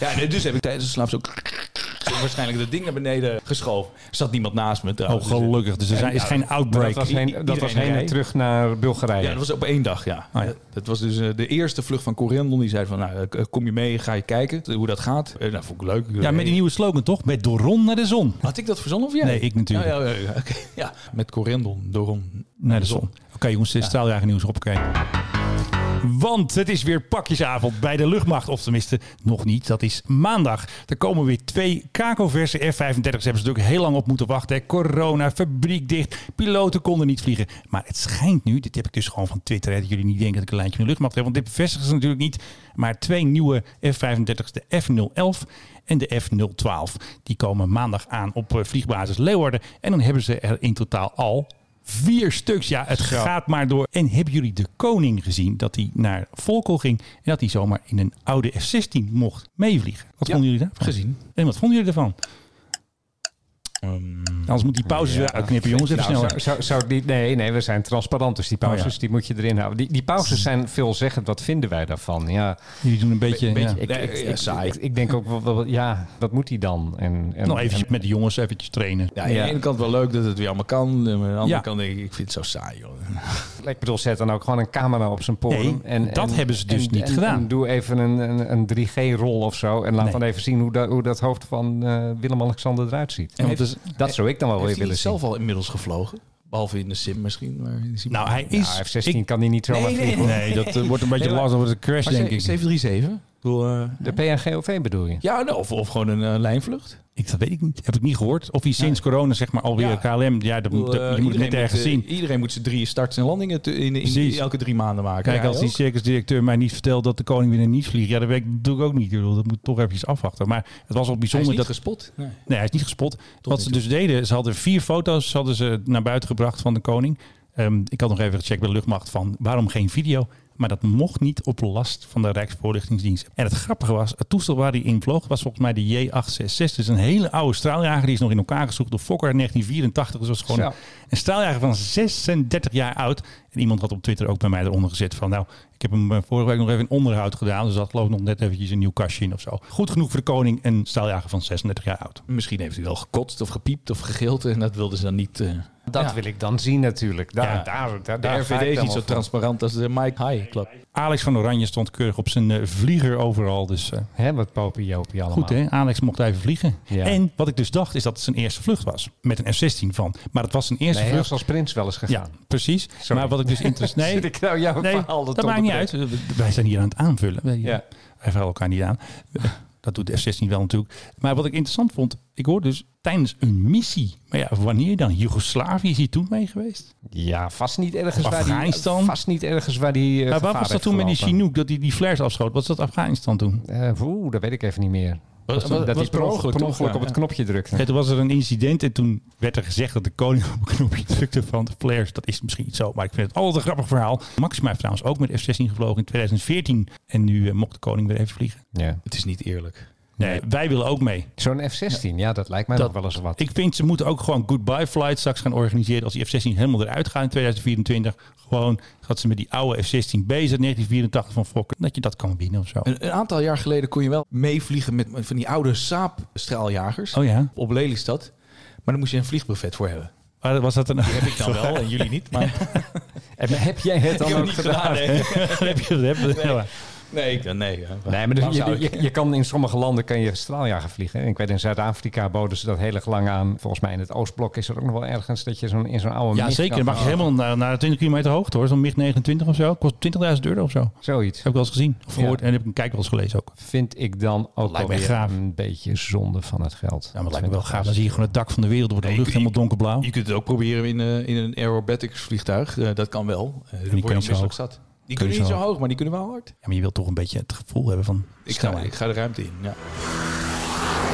Ja, nee, dus heb ik tijdens de slaap zo... waarschijnlijk dat ding naar beneden geschoven. Er zat niemand naast me
Oh,
trouwens.
gelukkig. Dus er zijn, is
eh, Ja,
geen
Dat
outbreak.
was heen, dat
Iedereen
was heen en
rijdt.
terug naar Bulgarije.
Ja, dat was op één dag, ja.
Ah, ja.
Dat was dus eh, de eerste vlucht van Corendon. Die zei van, nou, eh, kom je mee, ga je kijken hoe dat gaat. Eh, Nou, vond ik leuk.
Ja, met die nieuwe slogan toch? Met door Ron naar de zon.
Had ik dat verzonnen of jij?
Nee, ik natuurlijk.
Oh, ja, ja, ja, oké. ja, met Corendon, Doron.
naar de zon. Oké jongens, de straaljager nieuws op. Want het is weer pakjesavond bij de luchtmacht. Of tenminste, nog niet. Dat is maandag. Er komen weer twee kakelverse F-35's. Hebben ze natuurlijk heel lang op moeten wachten. hè. Corona, fabriek dicht. Piloten konden niet vliegen. Maar het schijnt nu, dit heb ik dus gewoon van Twitter... Hè, dat jullie niet denken dat ik een lijntje van de luchtmacht heb. Want dit bevestigen ze natuurlijk niet. Maar twee nieuwe F-35's, de F-011 en de F-012. Die komen maandag aan op eh, vliegbasis Leeuwarden. En dan hebben ze er in totaal al Vier stuks, ja, het gaat maar door. En hebben jullie de koning gezien dat hij naar Volkel ging en dat hij zomaar in een oude F-16 mocht meevliegen? Wat
Ja,
vonden jullie daarvan?
gezien. Mm.
En wat vonden jullie daarvan? Anders moet die pauzes weer uitknippen, jongens. Even
Nou,
sneller.
zou, zou, zou die, nee, nee, we zijn transparant, dus die pauzes
Oh ja.
die moet je erin houden. Die, die pauzes zijn veelzeggend. Wat vinden wij daarvan? Ja,
Jullie doen een beetje.
Beetje-
ja.
ik,
Nee,
ik,
ja,
ik-
saai.
Ik, ik denk ook wel, wel- ja, wat moet hij dan? En, en,
Nog eventjes met de jongens eventjes trainen.
Ja, aan
Ja.
de ene kant wel leuk dat het weer allemaal kan. maar Aan de andere
Ja.
kant denk ik, ik vind het zo saai. Joh.
en- ik bedoel, zet dan ook gewoon een camera op zijn poren.
Nee,
en,
dat
en-
hebben ze dus
en-
niet
en-
gedaan.
en doe even een, een, een 3G-rol of zo. En laat
Nee.
dan even zien hoe, dat hoe dat hoofd van eh, Willem-Alexander eruit ziet.
En want het is-
dat zou ik dan wel
Heeft hij
weer willen
het
zien.
zelf al inmiddels gevlogen? Behalve in de sim misschien. Maar in de sim-
nou, hij
Ja,
is.
F-16
ik-
kan hij niet zomaar
Nee, nee,
vliegen. hoor.
nee, dat eh, wordt een beetje
Nee, maar-
lastig. Wordt een crash,
Maar
denk
ze-
ik.
737? Ik bedoel, eh,
De PNGOV bedoel je?
ja, nou, of, of gewoon een eh, lijnvlucht.
ik. Dat weet ik niet. Heb ik niet gehoord. Of hij sinds corona, zeg maar, alweer
Ja.
KLM. Ja, dat,
Ik bedoel,
moet- dat-
eh,
je moet het
iedereen
net ergens
eh,
zien.
Iedereen moet zijn drie starts en landingen te- in, in,
Precies.
elke drie maanden maken.
Kijk,
Ja,
als
hij
die
ook.
circusdirecteur mij niet vertelt dat de koning weer niet vliegt, ja, dat weet ik natuurlijk ook niet. Ik bedoel, Dat moet toch eventjes afwachten. Maar het was al
Hij is
bijzonder
niet
dat.
gespot. Nee.
Nee, hij is niet gespot. Wat
nu
ze dus deden, ze hadden vier foto's hadden ze naar buiten gebracht van de koning. Ehm, ik had nog even gecheckt bij de luchtmacht van waarom geen video. Maar dat mocht niet op last van de Rijksvoorlichtingsdienst. En het grappige was, het toestel waar hij in vloog was volgens mij de J866. Dus een hele oude straaljager. Die is nog in elkaar gezocht door Fokker in 1984. Dus dat is gewoon
Zo.
een straaljager van 36 jaar oud. En iemand had op Twitter ook bij mij eronder gezet van... nou, ik heb hem eh, vorige week nog even in onderhoud gedaan. Dus dat geloof ik nog net eventjes een nieuw kastje in of zo. Goed genoeg voor de koning, een straaljager van 36 jaar oud.
Misschien heeft hij wel gekotst of gepiept of gegild. En dat wilden ze dan niet. eh,
Dat wil ik dan zien natuurlijk. Daar,
Ja.
daar, daar,
de
daar ga
RVD
ik
is
dan
niet zo
wel voor.
transparant als de Mike High Club.
Alex van Oranje stond keurig op zijn eh, vlieger overal. Dus eh,
Hè, wat popie Jopie allemaal.
goed, hè? Alex mocht even vliegen.
Nou. Ja.
En wat ik dus dacht, is dat het zijn eerste vlucht was. Met een F-16 van. Maar het was zijn eerste
Nee, hij
vlucht.
is als prins wel eens
Ja,
gegaan.
precies. Maar wat ik dus interessant...
Zit ik nou jouw
nee,
verhaal te
dat maakt niet uit.
onderbreken?
Wij zijn hier aan het aanvullen. Wij, eh,
Ja.
wij vallen elkaar niet aan. Eh, Dat doet de F-16 wel natuurlijk. Maar wat ik interessant vond, ik hoorde dus tijdens een missie. Maar ja, wanneer dan? Joegoslavië is hier toen mee geweest?
Ja, vast niet ergens
Of
waar die...
Afghanistan?
Vast niet ergens waar die... eh,
Maar
gevaar
wat was dat
heeft
toen met die
gelopen.
Chinook, dat die, die flares afschoot? Was dat Afghanistan toen?
Eh, Oeh, dat weet ik even niet meer.
Wat-
dat
wat-
hij
wat per
per ongeluk,
ongeluk,
per ongeluk
toch?
op het knopje drukte.
Ja, toen was er een incident en toen werd er gezegd dat de koning op een knopje drukte van de flares. Dat is misschien niet zo, maar ik vind het altijd een grappig verhaal. Maxima heeft trouwens ook met F-16 gevlogen in 2014 en nu eh, mocht de koning weer even vliegen.
Ja.
Het is niet eerlijk.
Nee, wij willen ook mee.
Zo'n F-16, ja. dat lijkt mij nog wel eens wat.
Ik vind ze moeten ook gewoon goodbye flight straks gaan organiseren als die F-16 helemaal eruit gaat in 2024. Gewoon dat ze met die oude F-16 bezig 1984 van Fokker, dat je dat kan binnen of zo.
Een, een aantal jaar geleden kon je wel meevliegen met van die oude Saab-straaljagers
Oh ja,
op Lelystad. Maar dan moest je een vliegbuffet voor hebben.
Maar was dat een...
Heb ik dan wel en jullie niet. Maar
En heb jij het dan
heb
ook
het
gedaan?
niet gedaan, nee.
Dat heb je- dat heb je- ja.
Nee, ik, nee, ja.
Nee, maar dus
Waarom zou
je,
ik-
je, je kan in sommige landen kan je straaljager vliegen. Ik weet in Zuid-Afrika boden ze dat heel erg lang aan. Volgens mij in het Oostblok is er ook nog wel ergens dat je zo'n, in zo'n oude
Ja,
MiG
zeker.
kan
Dan mag je
gaan.
helemaal naar, naar 20 kilometer hoogte hoor. Zo'n MIG 29 of zo. Kost 20.000 euro of zo. Dat
Zoiets
heb ik wel eens gezien. Of gehoord.
Ja.
En heb ik een kijk wel eens gelezen ook.
vind ik dan ook
Lijkt
wel
mij
weer
gaaf.
een beetje zonde van het geld.
Ja, maar het lijkt me wel gaaf. Dan zie je gewoon het dak van de wereld. wordt de
Nee,
lucht
ik-
helemaal donkerblauw.
Je kunt het ook proberen in, eh, in een aerobatics vliegtuig. Eh, dat kan wel. Eh, dan
kunnen
word je
zo hoog.
misselijk zat. Die kunnen
zo
niet zo
hoog.
hoog, maar die kunnen wel hard.
Ja, maar je wilt toch een beetje het gevoel hebben van
Ik ga,
snelheid.
ik ga de ruimte in. Ja.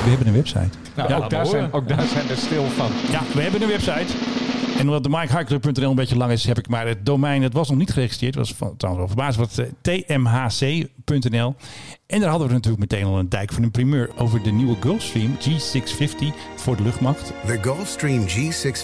We hebben een website.
Nou,
ja,
ook
Daar zijn, ook daar zijn we stil van.
ja, we hebben een website. En omdat de MikeHighClub.nl een beetje lang is, heb ik maar het domein. Het was nog niet geregistreerd. Dat was van, trouwens wel verbaasd. Wat eh, tmhc.nl. En daar hadden we natuurlijk meteen al een dijk van een primeur over de nieuwe Gulfstream G650 voor de luchtmacht.
The Gulfstream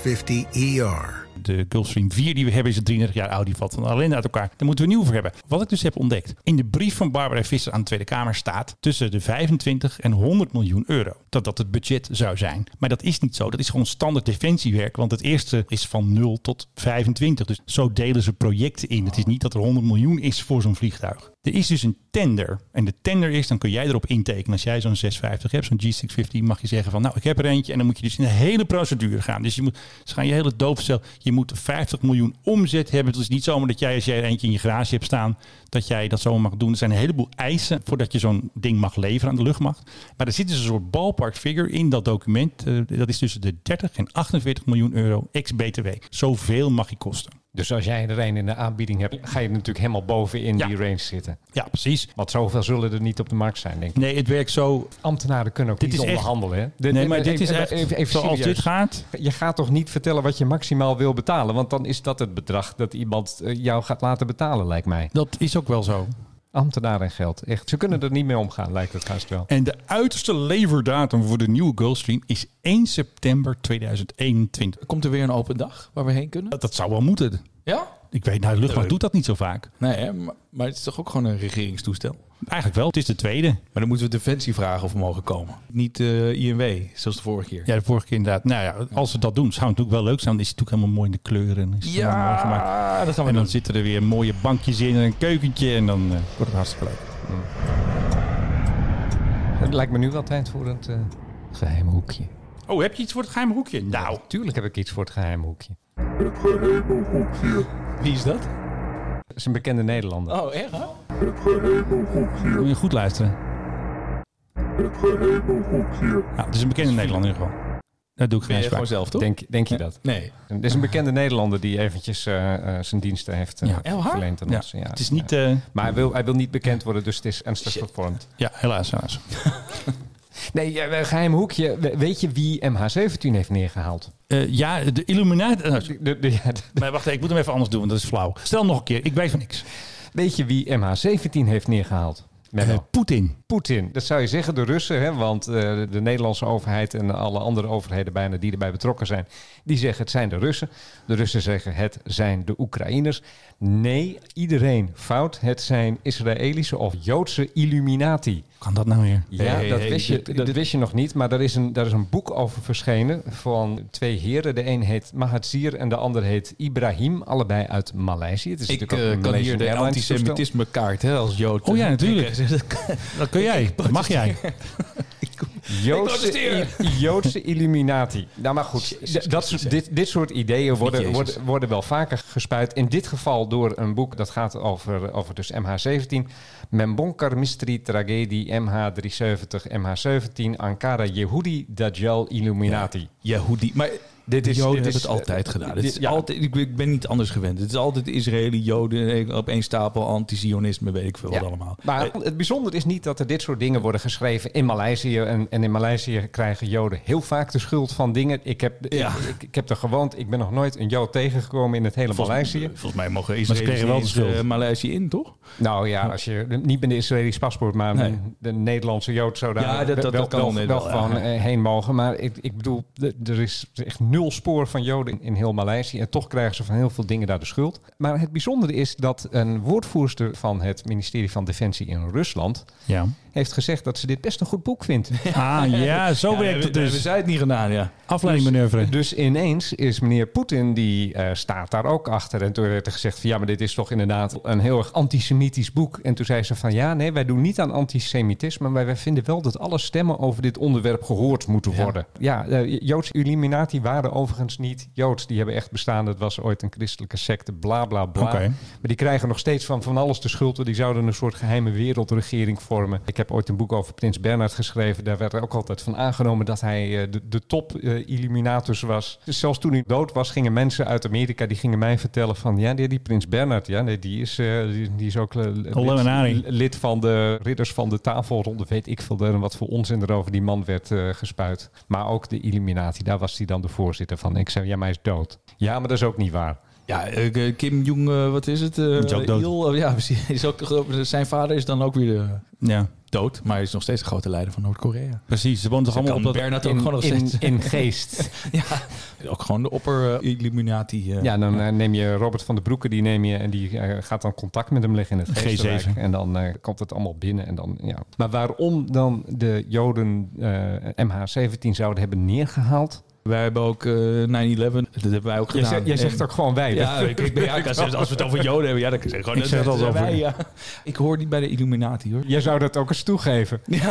G650 ER.
De Gulfstream 4 die we hebben is een 33 jaar oud. Die valt dan alleen uit elkaar. Daar moeten we nieuw voor hebben. Wat ik dus heb ontdekt. In de brief van Barbara Visser aan de Tweede Kamer staat tussen de 25 en 100 miljoen euro. Dat dat het budget zou zijn. Maar dat is niet zo. Dat is gewoon standaard defensiewerk. Want het eerste is van 0 tot 25. Dus zo delen ze projecten in. Het is niet dat er 100 miljoen is voor zo'n vliegtuig. Er is dus een tender. En de tender is, dan kun jij erop intekenen. Als jij zo'n 650 hebt, zo'n G650, mag je zeggen van nou, ik heb er eentje. En dan moet je dus in de hele procedure gaan. Dus je moet, ze gaan je hele doopstel. Je moet 50 miljoen omzet hebben. Het is niet zomaar dat jij, als jij er eentje in je garage hebt staan, dat jij dat zo mag doen. Er zijn een heleboel eisen voordat je zo'n ding mag leveren aan de luchtmacht. Maar er zit dus een soort ballpark figure in dat document. Eh, dat is tussen de 30 en 48 miljoen euro ex-BTW. Zoveel mag je kosten.
Dus als jij er een in de aanbieding hebt, ga je natuurlijk helemaal boven in die range zitten.
Ja, precies.
Want zoveel zullen er niet op de markt zijn, denk ik.
Nee, het werkt zo.
Ambtenaren kunnen ook
Dit
niet
is echt-
onderhandelen. Hè? De-
Nee,
de-
maar
de-
dit is
even-
echt.
even- even
Zoals
serieus.
dit gaat.
Je gaat toch niet vertellen wat je maximaal wil betalen? Want dan is dat het bedrag dat iemand eh, jou gaat laten betalen, lijkt mij.
Dat is ook wel zo.
Ambtenaren en geld, echt. Ze kunnen er niet mee omgaan, lijkt het haast wel.
En de uiterste leverdatum voor de nieuwe Gulfstream is 1 september 2021.
Komt er weer een open dag waar we heen kunnen?
Dat, dat zou wel moeten.
Ja?
Ik weet, nou, de luchtvaart doet dat niet zo vaak.
Nee, hè, maar, maar het is toch ook gewoon een regeringstoestel?
Eigenlijk wel, het is de tweede.
Maar dan moeten we Defensie vragen of we mogen komen. Niet eh, INW, zoals de vorige keer.
Ja, de vorige keer inderdaad. Nou ja, als ze dat doen, zou het natuurlijk wel leuk zijn. Dan is het natuurlijk helemaal mooi in de kleuren. Is het helemaal mooi gemaakt.
dat gaan
En dan zitten er weer mooie bankjes in en een keukentje. En dan eh, wordt het hartstikke leuk.
Hmm. Het lijkt me nu wel tijd voor het eh, geheime hoekje.
Oh, heb je iets voor het geheime hoekje? Nou,
Tuurlijk heb ik iets voor het geheime hoekje.
Wie is dat?
Dat is een bekende Nederlander.
Oh, echt? hè?
moet je goed luisteren. Het geheime hoekje. Het is een bekende Nederlander in ieder geval. Dat doe ik
Ben
geen
je
sprake.
gewoon zelf, toch?
Denk, denk je dat?
Nee.
Er is een bekende Nederlander die eventjes eh, eh, zijn diensten heeft eh,
Ja.
Echt waar?
verleend aan
Ja,
ons. Ja,
het is niet...
ja.
eh,
Maar hij wil, hij wil niet bekend worden, dus het is ernstig vervormd.
ja, helaas, helaas.
Nee, eh, een geheim hoekje. We- Weet je wie MH17 heeft neergehaald?
Eh, ja, de Illuminati. eh, sorry.
De- de- de- ja, de-
maar wacht, ik moet hem even anders doen, want dat is flauw. Stel nog een keer, ik weet van niks.
weet je wie MH17 heeft neergehaald? Menno.
Eh, Poetin.
Poetin. Dat zou je zeggen, de Russen, hè, want eh, de Nederlandse overheid en alle andere overheden bijna die erbij betrokken zijn, die zeggen het zijn de Russen. De Russen zeggen het zijn de Oekraïners. Nee, iedereen fout. Het zijn Israëlische of Joodse Illuminati.
Hoe kan dat nou weer?
Ja,
Hey,
dat,
hey,
wist
hey,
je,
dit-
dat
dit-
wist je nog niet, maar daar is, een, daar is een boek over verschenen van twee heren. De een heet Mahathir en de ander heet Ibrahim, allebei uit Maleisië. Het is
Ik
natuurlijk ook
eh,
een
kan hier
Malaysian
de
Airlines toestel.
antisemitisme kaart hè, als Jood. eh,
Oh ja, natuurlijk.
Ik-
Dat kun jij. Dat mag jij.
Joodse,
protesteer.
Joodse Illuminati. Nou, maar goed. d- Dat, soort- dit, dit soort ideeën worden,
Jezus.
worden, worden wel vaker gespuit. In dit geval door een boek dat gaat over, over dus MH17. Membonkar Mystery Tragedy MH370 MH17 Ankara Yehudi Dajjal Illuminati.
Yehudi. Maar dit is,
Joden
Joden hebben
is-
het altijd gedaan. Dit is
dit- ja.
altijd, ik, ik ben niet anders gewend. Het is altijd Israëli, Joden, eh, op één stapel anti-Zionisme, weet ik veel wat
Ja.
allemaal.
Maar het bijzondere is niet dat er dit soort dingen worden geschreven in Maleisië. En, en in Maleisië krijgen Joden heel vaak de schuld van dingen. Ik heb,
Ja.
ik, ik heb er gewoond. Ik ben nog nooit een Jood tegengekomen in het hele Maleisië.
Volgens mij mogen
ze kregen
Israëli's
wel
wel
de schuld.
Maleisië in, toch?
Nou ja, als je niet met een Israëlisch paspoort, maar
Nee.
de Nederlandse Jood zou daar
Ja, dat- dat-
wel,
dat kan
wel-
net
wel
wel,
gewoon
ja.
eh, heen mogen. Maar ik, ik bedoel, d- er is echt nul spoor van Joden in, in heel Maleisië. En toch krijgen ze van heel veel dingen daar de schuld. Maar het bijzondere is dat een woordvoerster van het ministerie van Defensie in Rusland
Ja.
heeft gezegd dat ze dit best een goed boek vindt.
Ah ja, zo werkt het
We
dus.
zijn het niet gedaan, ja.
Afleidingmanoeuvre.
Dus ineens is meneer Poetin, die eh, staat daar ook achter. En toen werd er gezegd van ja, maar dit is toch inderdaad een heel erg antisemitisch boek. En toen zei ze van ja, nee, wij doen niet aan antisemitisme. Maar wij vinden wel dat alle stemmen over dit onderwerp gehoord moeten worden. Ja, eh, Joodse Illuminati waren overigens niet Joods. Die hebben echt bestaan. Dat was ooit een christelijke secte, bla bla bla.
Oké.
Maar die krijgen nog steeds van van alles de schuld. want Die zouden een soort geheime wereldregering vormen. Ik heb ooit een boek over Prins Bernhard geschreven. Daar werd er ook altijd van aangenomen dat hij eh, de, de top eh, illuminatus was. Dus zelfs toen hij dood was, gingen mensen uit Amerika... die gingen mij vertellen van... ja, die, die Prins Bernhard, ja, nee, die, is, eh, die, die is ook eh,
Illuminati.
lid, lid van de ridders van de tafelronde. Weet ik veel en wat voor onzin er over die man werd eh, gespuit. Maar ook de Illuminati, daar was hij dan de voorzitter van. Ik zei, ja, maar hij is dood. Ja, maar dat is ook niet waar.
Ja, eh, eh, Kim Jong, eh, wat is het? eh,
Is ook dood.
Il, eh, ja, precies. Is ook, geloof- zijn vader is dan ook weer eh,
Ja,
dood, maar hij is nog steeds de grote leider van Noord-Korea.
precies. Ze wonen toch allemaal op dat...
Bernard
In- in, in geest.
ja, ook gewoon de opper eh, Illuminati. eh.
Ja, dan eh, neem je Robert van der Broeke, die neem je en die eh, gaat dan contact met hem liggen in het
G7.
geestenrijk. En dan eh, komt het allemaal binnen. En dan, ja. Maar waarom dan de Joden eh, MH17 zouden hebben neergehaald,
Wij hebben ook eh, 9-11, dat hebben wij ook
Jij
gedaan.
zegt, jij zegt
En-
ook gewoon wij.
Ja,
Dat-
ik, ik ben, ja, ik kan zeggen, als we het over Joden hebben, ja, dan kan ik zeggen,
Ik
gewoon,
zeg
dat
het als
zijn
over-
wij, ja. Ik hoor niet bij de Illuminati, hoor.
Jij zou dat ook eens toegeven.
Ja, ik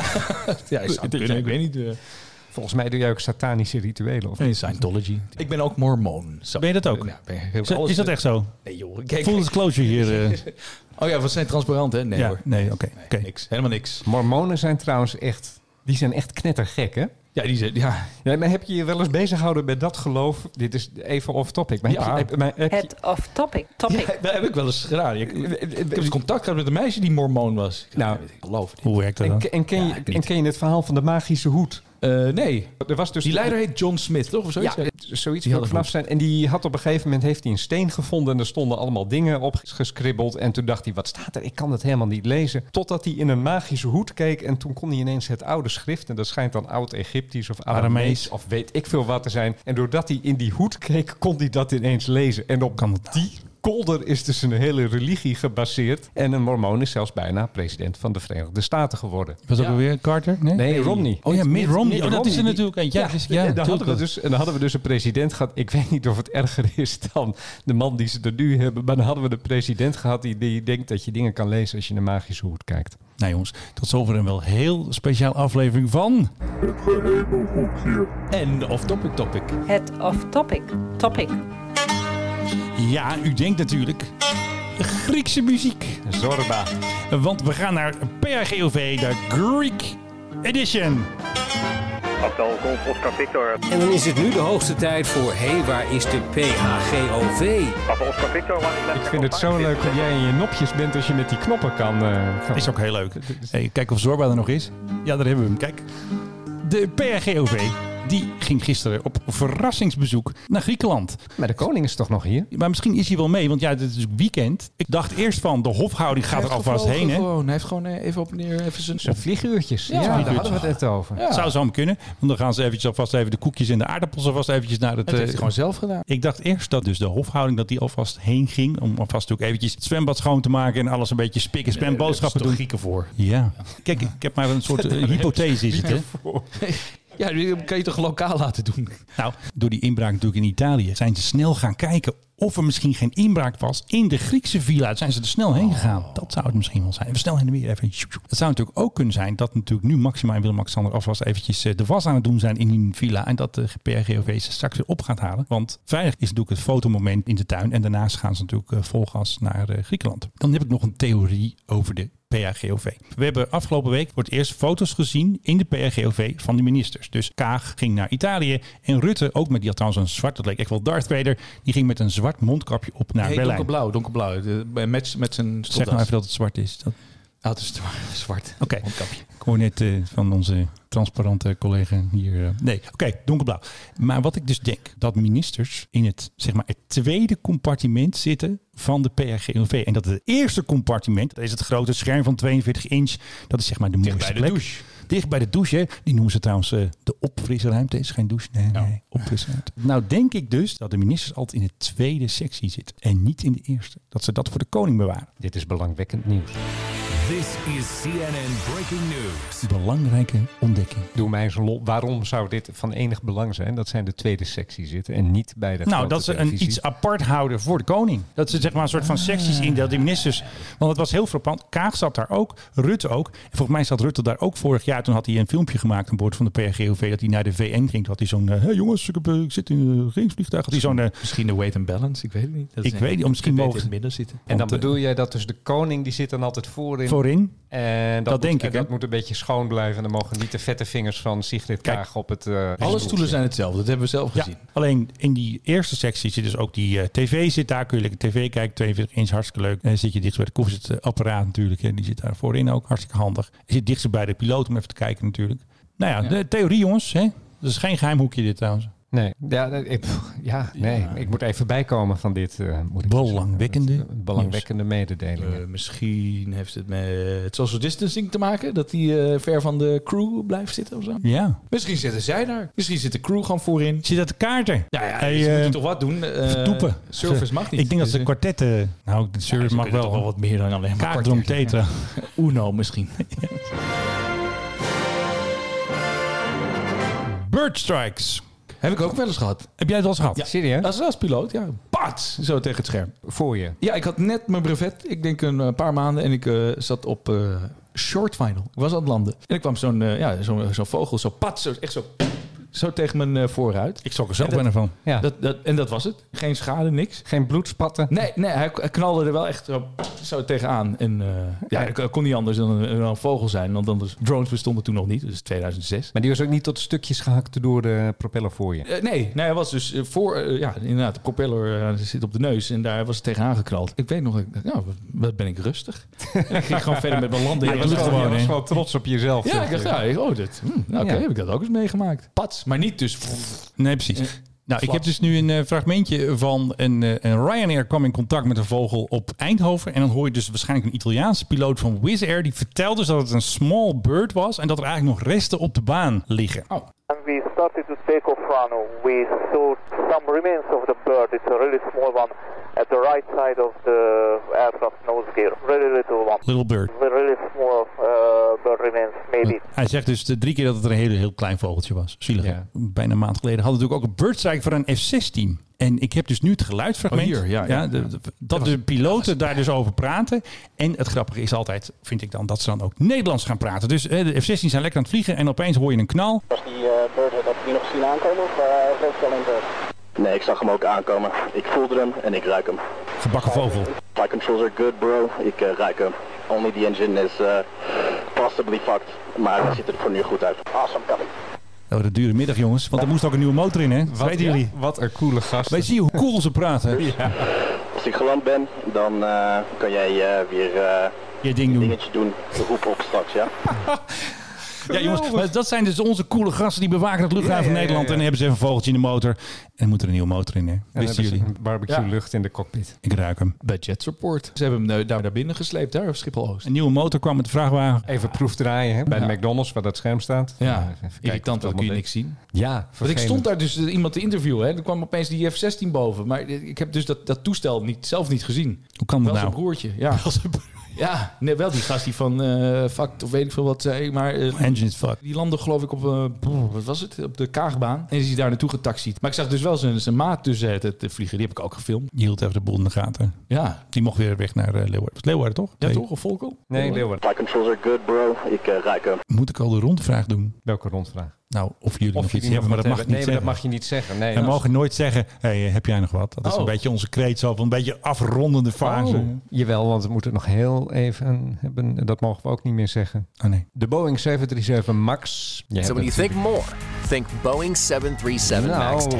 zou het kunnen, ik weet niet. eh.
Volgens mij doe jij ook satanische rituelen. Of
Nee, Scientology. Ik ben ook mormoon. Zo.
Ben je dat ook?
Ja, ben heel-
Is-
alles- eh,
Is dat echt zo?
Nee, joh. Kijk,
Full
kijk.
disclosure hier. eh.
Oh ja, we zijn transparant, hè? Nee,
ja,
hoor.
nee, oké. oké.
Niks. Helemaal niks.
Mormonen zijn trouwens echt... Die zijn echt knettergek, hè?
Ja, die ze- ja.
Ja, maar heb je je wel eens bezig gehouden met dat geloof? Dit is even off-topic. Maar heb
Ja.
je- heb- maar heb je-
Het off topic. topic.
Ja, dat heb ik wel eens gedaan. Ik,
eh,
ik heb eens contact gehad met een meisje die mormoon was. Ik,
Nou.
nou, ik geloof het niet.
Hoe werkt dat
en,
dan?
ke- en, ken je, en ken je het verhaal van de magische hoed?
Eh, nee.
Er was dus
Die leider heet John Smith, toch? Of zoiets?
Ja,
Ja.
zoiets
Die
wil
had
ik
een
vanaf zijn. En die had op een gegeven moment heeft hij een steen gevonden. En er stonden allemaal dingen op geschribbeld. En toen dacht hij, wat staat er? Ik kan het helemaal niet lezen. Totdat hij in een magische hoed keek. En toen kon hij ineens het oude schrift. En dat schijnt dan oud-Egyptisch of
Aramees.
Aramees. Of weet ik veel wat te zijn. En doordat hij in die hoed keek, kon hij dat ineens lezen. En op
Kan dat nou?
die kolder is dus een hele religie gebaseerd. En een mormoon is zelfs bijna president van de Verenigde Staten geworden.
Was dat alweer Carter? Nee?
Nee, Romney.
Oh ja, Mitt Romney.
Mitt
Oh, dat is er
Romney.
natuurlijk eentje. Ja, dus- ja,
en dan, hadden we
natuurlijk.
dus, en dan hadden we dus een president gehad. Ik weet niet of het erger is dan de man die ze er nu hebben. Maar dan hadden we de president gehad die, die denkt dat je dingen kan lezen als je naar magische hoed kijkt.
Nou jongens, tot zover een wel heel speciaal aflevering van...
En off-topic topic.
Het off topic. Topic.
Ja, u denkt natuurlijk... Griekse muziek.
Zorba.
Want we gaan naar PRGOV, de Greek Edition.
Hotel Golf Oscar Victor.
En dan is het nu de hoogste tijd voor Hé, hey, waar is de PHGOV?
Papa Oscar Victor.
Ik vind het zo leuk hoe jij in je nopjes bent als je met die knoppen kan. eh, gaan.
Is ook heel leuk. Hey, kijk of Zorba er nog is. Ja, daar hebben we hem. Kijk. De PRGOV die ging gisteren op verrassingsbezoek naar Griekenland.
Maar de koning is toch nog hier?
Maar misschien is hij wel mee, want ja, het is natuurlijk weekend. Ik dacht eerst van, de hofhouding gaat er alvast heen. Hè?
Hij heeft gewoon eh, even op en neer even zijn...
Zijn vlieguurtjes. Ja, daar
vlieguurtjes.
hadden we het net over.
Ja.
Zou zo hem kunnen. Want dan gaan ze eventjes alvast even de koekjes en de aardappels alvast eventjes naar het...
Dat heeft hij
eh,
gewoon zelf gedaan.
ik dacht eerst dat dus de hofhouding dat die alvast heen ging. Om alvast ook eventjes het zwembad schoon te maken en alles een beetje spik
Eh,
en span boodschappen doen.
Grieken voor.
Ja. Kijk, ik heb maar een soort eh, hypothese is het, hè?
Ja, die kan je toch lokaal laten doen?
Nou, door die inbraak natuurlijk in Italië zijn ze snel gaan kijken of er misschien geen inbraak was in de Griekse villa. Daar zijn ze er snel heen gegaan. Dat zou het misschien wel zijn. Even snel heen en weer. Even. sjoep, sjoep. Het zou natuurlijk ook kunnen zijn dat natuurlijk nu Maxima en Willem-Alexander alvast eventjes eh, de was aan het doen zijn in hun villa. En dat eh, de PRGOV ze straks weer op gaat halen. Want vrijdag is natuurlijk het fotomoment in de tuin. En daarnaast gaan ze natuurlijk eh, vol gas naar eh, Griekenland. Dan heb ik nog een theorie over de PAGOV. We hebben afgelopen week voor het eerst foto's gezien in de PAGOV van de ministers. Dus Kaag ging naar Italië en Rutte ook met die had trouwens een zwart, dat leek echt wel Darth Vader, die ging met een zwart mondkapje op naar
Nee,
Berlijn.
donkerblauw, donkerblauw. De- bij- Met, met zijn stropdas.
Zeg maar even dat het zwart is. Dat...
Ah, het is zwart- zwart.
Oké.
Mondkapje.
Ik hoor net eh, van onze transparante collega hier. eh, nee, oké, donkerblauw. Maar wat ik dus denk, dat ministers in het, zeg maar, het tweede compartiment zitten van de PRGOV. En dat het eerste compartiment, dat is het grote scherm van 42 inch, dat is zeg maar de mooiste
bij de
plek.
douche.
Dicht bij de douche, hè. die noemen ze trouwens eh, de opfrisruimte. Is geen douche, nee,
Oh.
nee, opfrisruimte. nou denk ik dus dat de ministers altijd in de tweede sectie zitten en niet in de eerste. Dat ze dat voor de koning bewaren.
Dit is belangwekkend nieuws.
This is CNN Breaking News.
Belangrijke ontdekking.
Doe mij eens een lol. Waarom zou dit van enig belang zijn? Dat zij in de tweede sectie zitten en niet bij de
Nou,
grote
dat ze een
televisie.
iets apart houden voor de koning. Dat ze zeg maar een soort van
Ah.
secties indeelt, die ministers. Want het was heel frappant. Kaag zat daar ook, Rutte ook. En volgens mij zat Rutte daar ook vorig jaar. Toen had hij een filmpje gemaakt aan boord van de PRGOV dat hij naar de VN ging. Toen had hij zo'n, eh, hey jongens, ik, heb, eh, ik zit in een regeringsvliegtuig. Had hij zo'n, eh,
Misschien de weight and balance, ik weet het niet. Dat
Ik
is-
weet niet, of misschien
je weet
mogen-
in het midden zitten.
En dan
Want, eh,
bedoel jij dat dus de koning die zit dan altijd voorin.
voorin.
En dat,
Dat
moet,
denk
en
ik,
dat
hè?
moet een beetje schoon blijven. En dan mogen niet de vette vingers van Sigrid
Kijk,
Kaag op het... eh,
Alle
stoeltje.
stoelen zijn hetzelfde, dat hebben we zelf
Ja,
gezien.
alleen in die eerste sectie zit dus ook die eh, tv zit daar. Kun je lekker tv kijken, 42 inch, hartstikke leuk. En zit je dicht bij de koffiezetapparaat natuurlijk. En die zit daar voorin ook, hartstikke handig. Je zit dichtst bij de piloot om even te kijken natuurlijk. Nou ja, de theorie jongens, hè? dat is geen geheim hoekje dit trouwens.
Nee, ja, nee, ik, pff, ja, nee. ik moet even bijkomen van dit. eh, moet ik
Belangwekkende
zeggen. Belangwekkende mededelingen.
Eh, misschien heeft het met social distancing te maken, dat die eh, ver van de crew blijft zitten of zo.
Ja.
Misschien zitten zij daar. Misschien zit de crew gewoon voorin. Nou
Zit dat de kaarten?
Ja, ja
Hey,
ze
eh,
moeten toch wat doen? Eh,
vertoepen.
Service mag niet.
Ik denk dat
Dus,
ze
eh,
kwartetten... Nou, de service
ze
mag
kunnen
wel.
toch wel wat meer dan alleen maar
Kaart om
kwartier.
tetra.
Uno misschien.
Bird Strikes.
Heb ik ook wel eens gehad.
Heb jij het wel eens gehad?
Ja.
Serieus?
Als, als piloot, ja. Pats! Zo tegen het scherm.
Voor je.
Ja, ik had net mijn brevet. Ik denk een eh, paar maanden. En ik eh, zat op eh short final. Ik was aan het landen. En ik kwam zo'n eh, ja, zo'n zo'n vogel. Zo pat. Zo, echt zo. Zo tegen mijn eh, voorruit.
Ik schrok er zo
En dat-
bijna van.
Ja.
Dat, dat, en dat was het. Geen schade, niks.
Geen bloedspatten.
Nee, nee hij, hij knalde er wel echt zo, zo tegenaan. En eh, ja, dat kon niet anders dan een, dan een vogel zijn. Want anders, drones bestonden toen nog niet. Dus 2006.
Maar die was ook niet tot stukjes gehakt door de propeller voor je.
Eh, nee, nee, hij was dus eh, voor, eh, ja, inderdaad, de propeller eh, zit op de neus en daar was het tegenaan geknald. Ik weet nog, ik dacht, ja, wat- wat ben ik rustig. En ik ging gewoon verder met mijn landing.
Hij
Ik
was
dacht,
gewoon-
ja,
hij was
gewoon trots op jezelf.
Ja, ik dacht, ja, ik- oh, dit, hm, nou, oké,
Ja.
heb ik dat ook eens meegemaakt. Pats, maar niet dus.
Nee, precies.
Ja.
Nou, ik
Flats.
heb dus nu een eh, fragmentje van een, eh, een Ryanair kwam in contact met een vogel op Eindhoven. En dan hoor je dus waarschijnlijk een Italiaanse piloot van Wizz Air. Die vertelt dus dat het een small bird was en dat er eigenlijk nog resten op de baan liggen.
And we started to take off run. We saw some remains of the bird. It's a really small one at the right side of the aircraft nose gear. Really little one.
Little bird.
Really small uh, bird remains, maybe.
Hij zegt dus de drie keer dat het een heel, heel klein vogeltje was. Zielig. hè? Bijna een maand geleden hadden we natuurlijk ook een birdstrike van een F-16. En ik heb dus nu het geluidsfragment.
Oh, hier, ja, ja.
de- de- dat de piloten daar dus over praten. En het grappige is altijd, vind ik dan, dat ze dan ook Nederlands gaan praten. Dus eh, de F-16 zijn lekker aan het vliegen en opeens hoor je een knal.
Was die eh, bird, heb je die nog zien aankomen of uh, reed alleen bird? Nee, ik zag hem ook aankomen. Ik voelde hem en ik ruik hem.
Gebakken vogel.
My controls are good, bro. Ik eh, ruik hem. Only the engine is eh, possibly fucked. Maar het ziet er voor nu goed uit. Awesome, copy.
Oh, dat dure middag, jongens. Want er moest ook een nieuwe motor in, hè? Dat weten jullie.
Wat een coole gast.
Wij zien hoe cool ze praten. Ja.
Als ik geland ben, dan eh, kan jij eh, weer eh,
Je ding
een
doen.
dingetje doen. Roep op straks, ja?
Ja, jongens, maar dat zijn dus onze coole gasten die bewaken het luchtruim van
Ja, ja, ja,
Nederland. En dan hebben ze even een vogeltje in de motor. En moet er een nieuwe motor in, hè?
En
Wisten jullie?
Een barbecue lucht in de cockpit.
Ik ruik hem.
Bij Jet Support. Ze hebben hem eh, daar naar binnen gesleept, daar op Schiphol-Oost.
Een nieuwe motor kwam met de vrachtwagen.
Even proefdraaien hè? bij de McDonald's waar dat scherm staat.
Ja,
even kijken of
irritant,
het
dan kun je
allemaal
niks zien.
deed. Ja,
Want ik
vervelend.
stond daar dus eh, iemand te interviewen. Hè. Er kwam opeens die F-16 boven. Maar eh, ik heb dus dat, dat toestel niet, zelf niet gezien.
Hoe kan dat
Wel
nou?
zijn broertje, ja. Ja, nee, wel die gast die van eh fuck of weet ik veel wat zei, maar eh,
Engine is fuck.
die landde geloof ik op, eh, brr, wat was het, op de Kaagbaan. En die is daar naartoe getaxied. Maar ik zag dus wel zijn, zijn maat tussen het, het vliegen, die heb ik ook gefilmd.
Die hield even de boel in de gaten.
Ja,
Die mocht weer weg naar eh, Leeuwarden. Was Leeuwarden, toch?
ja
Nee.
toch, of Volkel?
Nee, Leeuwen.
My controls are good, bro. Ik eh, ruik hem.
Moet ik al de rondvraag doen?
Welke rondvraag?
Nou, of jullie nog
jullie
iets
nog
hebben, maar dat
wat
mag ik
hebben.
niet
Nee,
zeggen.
maar dat mag je niet zeggen. Nee,
We
als-
mogen nooit zeggen, hey, eh, heb jij nog wat? Dat is
Oh.
een beetje onze kreet zo van een beetje afrondende fase.
Oh, Jawel, want we moeten het nog heel even hebben. Dat mogen we ook niet meer zeggen.
Oh nee.
De Boeing 737 MAX. Jij
So
hebt
when you
het
think more, think Boeing 737 MAX
Nou,
10.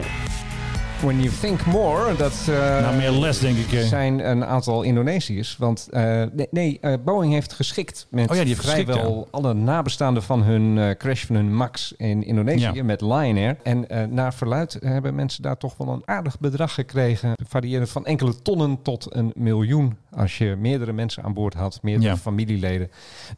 When you think more, dat eh,
Nou, meer les denk ik. eh.
zijn een aantal Indonesiërs. Want eh, nee, nee, eh, Boeing heeft geschikt met
Oh ja, die heeft geschikt,
vrijwel alle nabestaanden van hun eh, crash van hun MAX in Indonesië
Ja.
met Lion Air. En eh, naar verluid hebben mensen daar toch wel een aardig bedrag gekregen. Variërend van enkele tonnen tot een miljoen. Als je meerdere mensen aan boord had, meerdere
Ja.
familieleden.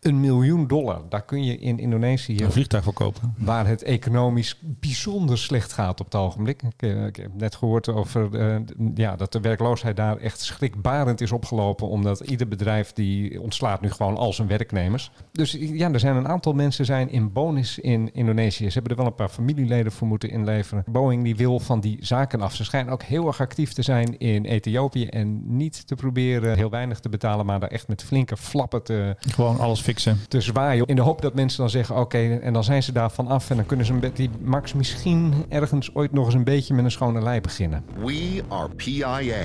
Een miljoen dollar, daar kun je in Indonesië
Een vliegtuig voor kopen.
waar het economisch bijzonder slecht gaat op het ogenblik. Ik, eh, ik heb net gehoord over eh, ja, dat de werkloosheid daar echt schrikbarend is opgelopen, omdat ieder bedrijf die ontslaat nu gewoon al zijn werknemers. Dus ja, er zijn een aantal mensen zijn in bonus in Indonesië. Ze hebben er wel een paar familieleden voor moeten inleveren. Boeing die wil van die zaken af. Ze schijnen ook heel erg actief te zijn in Ethiopië en niet te proberen heel weinig te betalen, maar daar echt met flinke flappen te,
Gewoon alles fixen.
te zwaaien. In de hoop dat mensen dan zeggen: oké, en dan zijn ze daarvan af. En dan kunnen ze een be- die Max misschien ergens ooit nog eens een beetje met een schone lei beginnen.
We are PIA.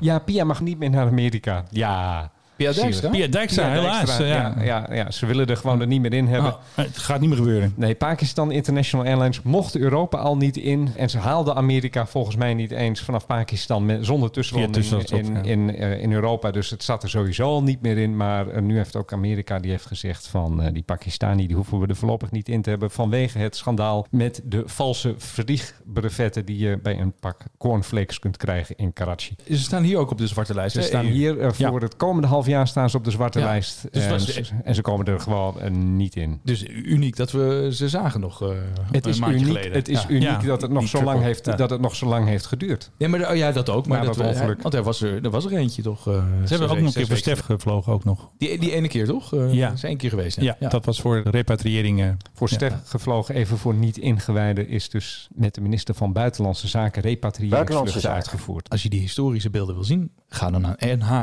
Ja, Pia mag niet meer naar Amerika. Ja.
Pia Dijkstra?
Pia Dijkstra,
Pia
helaas. eh,
Dijkstra,
ja.
Ja, ja, ja, ze willen er gewoon er niet meer in hebben.
Oh, het gaat niet meer gebeuren.
Nee, Pakistan International Airlines mocht Europa al niet in. En ze haalden Amerika volgens mij niet eens vanaf Pakistan met, zonder tussenlanding
Via tussenstop,
in,
ja.
in, eh, in Europa. Dus het zat er sowieso al niet meer in. Maar eh, nu heeft ook Amerika die heeft gezegd van eh, die Pakistani, die hoeven we er voorlopig niet in te hebben. Vanwege het schandaal met de valse vliegbrevetten die je bij een pak cornflakes kunt krijgen in Karachi.
Ze staan hier ook op de zwarte lijst.
Ze
hè,
staan
EU.
hier eh,
Ja.
voor het komende half half jaar staan ze op de zwarte
Ja,
lijst.
dus
en,
was
ze-
de-
en ze komen er gewoon eh, niet in.
Dus uniek dat we ze zagen nog eh,
Het is
een maandje
uniek,
geleden.
het is
Ja.
uniek
Ja.
dat, het nog
Die
zo lang
triple.
heeft,
Ja.
dat het nog zo lang heeft geduurd.
Nee, maar de- oh ja, dat ook. Maar
Maar
dat
dat
we-
ongeluk.
Want er was er, er was er eentje toch? eh,
Ze
zes
hebben ook
weken-
nog een
zes
keer voor
weken-
Stef gevlogen, ook nog.
Die, die ene keer toch? Eh,
Ja.
Dat is één keer geweest.
Ja, dat was voor repatriëring. eh,
Voor
ja.
Stef gevlogen, even voor niet-ingewijden, is dus met de minister van Buitenlandse Zaken repatriëringsvlucht uitgevoerd.
Als je die historische beelden wil zien, ga dan naar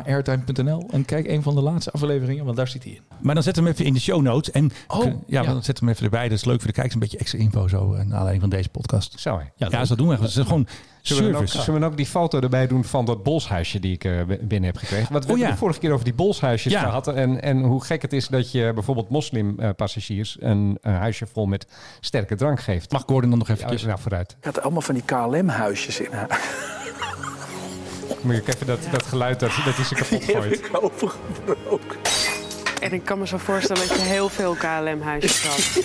nhrtime.nl en kijk een van de laatste afleveringen, want daar zit hij in.
Maar dan zet hem even in de show notes. En
Oh,
ja,
ja.
dan zet hem even erbij. Dat is leuk voor de kijkers. Een beetje extra info zo. eh, Naar aanleiding van deze podcast.
Zou hij?
Ja, ja zo doen we. Het is gewoon
Zullen we, dan ook,
service.
zullen we dan ook die foto erbij doen van dat bolshuisje die ik eh, b- binnen heb gekregen? Want
Oh,
we hebben
ja.
het vorige keer over die bolshuisjes
Ja.
gehad. En, en hoe gek het is dat je bijvoorbeeld moslimpassagiers een, een huisje vol met sterke drank geeft.
Mag Gordon dan nog
even ja, nou, vooruit?
Ik had allemaal van die KLM-huisjes in haar.
Moet ik even dat, dat geluid, dat, dat is er kapot gooit.
overgebroken.
En ik kan me zo voorstellen dat je heel veel KLM-huisjes had.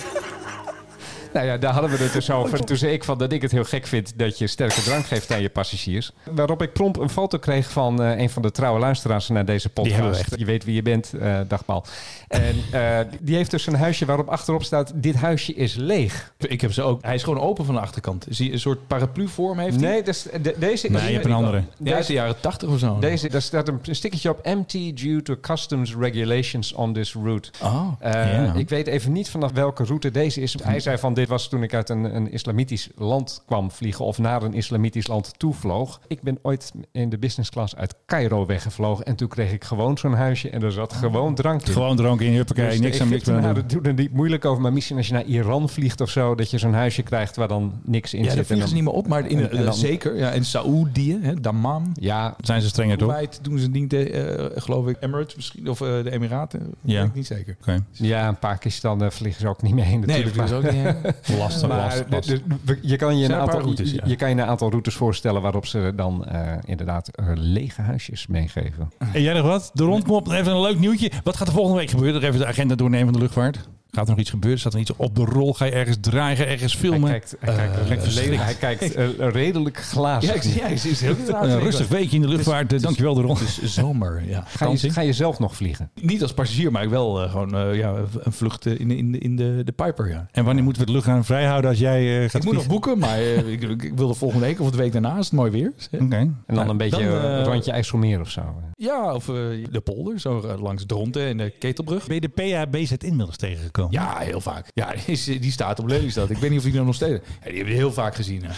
Nou ja, daar hadden we het dus over. Toen zei ik van dat ik het heel gek vind dat je sterke drank geeft aan je passagiers. Waarop ik prompt een foto kreeg van eh, een van de trouwe luisteraars naar deze
hebben we
podcast.
echt.
Je weet wie je bent, eh dag Paul. En eh, die heeft dus een huisje waarop achterop staat, dit huisje is leeg.
Ik heb ze ook. Hij is gewoon open van de achterkant. Is hij een soort paraplu-vorm heeft hij?
Nee, dus de- deze...
Nee, je hebt een andere.
Deze,
Ja, uit de jaren 80 of zo.
Deze, daar staat een stickertje op. Empty due to customs regulations on this route.
Oh,
Eh,
ja.
Ik weet even niet vanaf welke route deze is. Hij zei van dit was toen ik uit een, een islamitisch land kwam vliegen... of naar een islamitisch land toevloog. Ik ben ooit in de business class uit Cairo weggevlogen... en toen kreeg ik gewoon zo'n huisje en er zat
Oh.
gewoon drank in. Dus
Gewoon drank in, huppakee,
de
niks aan niks meer aan
Egyptenaren doen nou, er niet moeilijk over. Maar misschien als je naar Iran vliegt of zo... dat je zo'n huisje krijgt waar dan niks in
Ja,
zit.
daar
en
vliegen ze
dan-
niet meer op, maar in,
en- en
eh,
dan-
zeker. Ja, in Saoedi, hè, Dammam.
Ja,
zijn ze strenger toch?
Kuwait doen ze niet, eh, eh, geloof ik. Emirates misschien, of eh, de Emiraten. Dat
Ja.
weet ik niet zeker.
Oké.
Ja, in Pakistan eh, vliegen ze ook niet meer heen natuurlijk.
daar vliegen ze ook niet heen. Lastig,
Maar
lastig,
de-
lastig.
de- we- Je kan je een,
Zijn er een
aantal,
paar routes,
je,
ja.
je kan je een aantal routes voorstellen waarop ze dan eh, inderdaad eh, lege huisjes meegeven.
En jij nog wat? De rondkop, even een leuk nieuwtje. Wat gaat er volgende week gebeuren? Even de agenda doornemen van de luchtvaart. Gaat er nog iets gebeuren? Staat er iets op de rol? Ga je ergens draaien? Ga je ergens filmen?
Hij kijkt, hij kijkt,
Eh,
redelijk-
verschrikt.
hij kijkt eh, redelijk glazig.
Ja, ik zie- ja, ik zie het heel goed.
Ja,
Een
eh,
rustig weekje in de luchtvaart. Eh,
Het is-
Dankjewel, de Ron.
Het is zomer, ja.
Ga je, ga je zelf nog vliegen?
Niet als passagier, maar ik wel eh, gewoon eh, ja, een vlucht eh, in, in, in de, de Piper, ja.
En wanneer moeten we het luchtruim vrijhouden als jij eh, gaat
Ik moet nog boeken, maar eh, ik, ik, ik wil de volgende week of de week daarna, als het mooi weer is. hè.
Oké. En
En dan een beetje
dan,
eh,
eh,
rondje IJsselmeer of zo.
Ja, of eh, de polder, zo eh, langs Dronten en de Ketelbrug.
Ben je de PHBZ inmiddels tegengekomen?
Ja, heel vaak. Ja, die, is- die staat op Lelystad. Ik weet niet of die nou nog steeds... Ja, die hebben we heel vaak gezien. hè.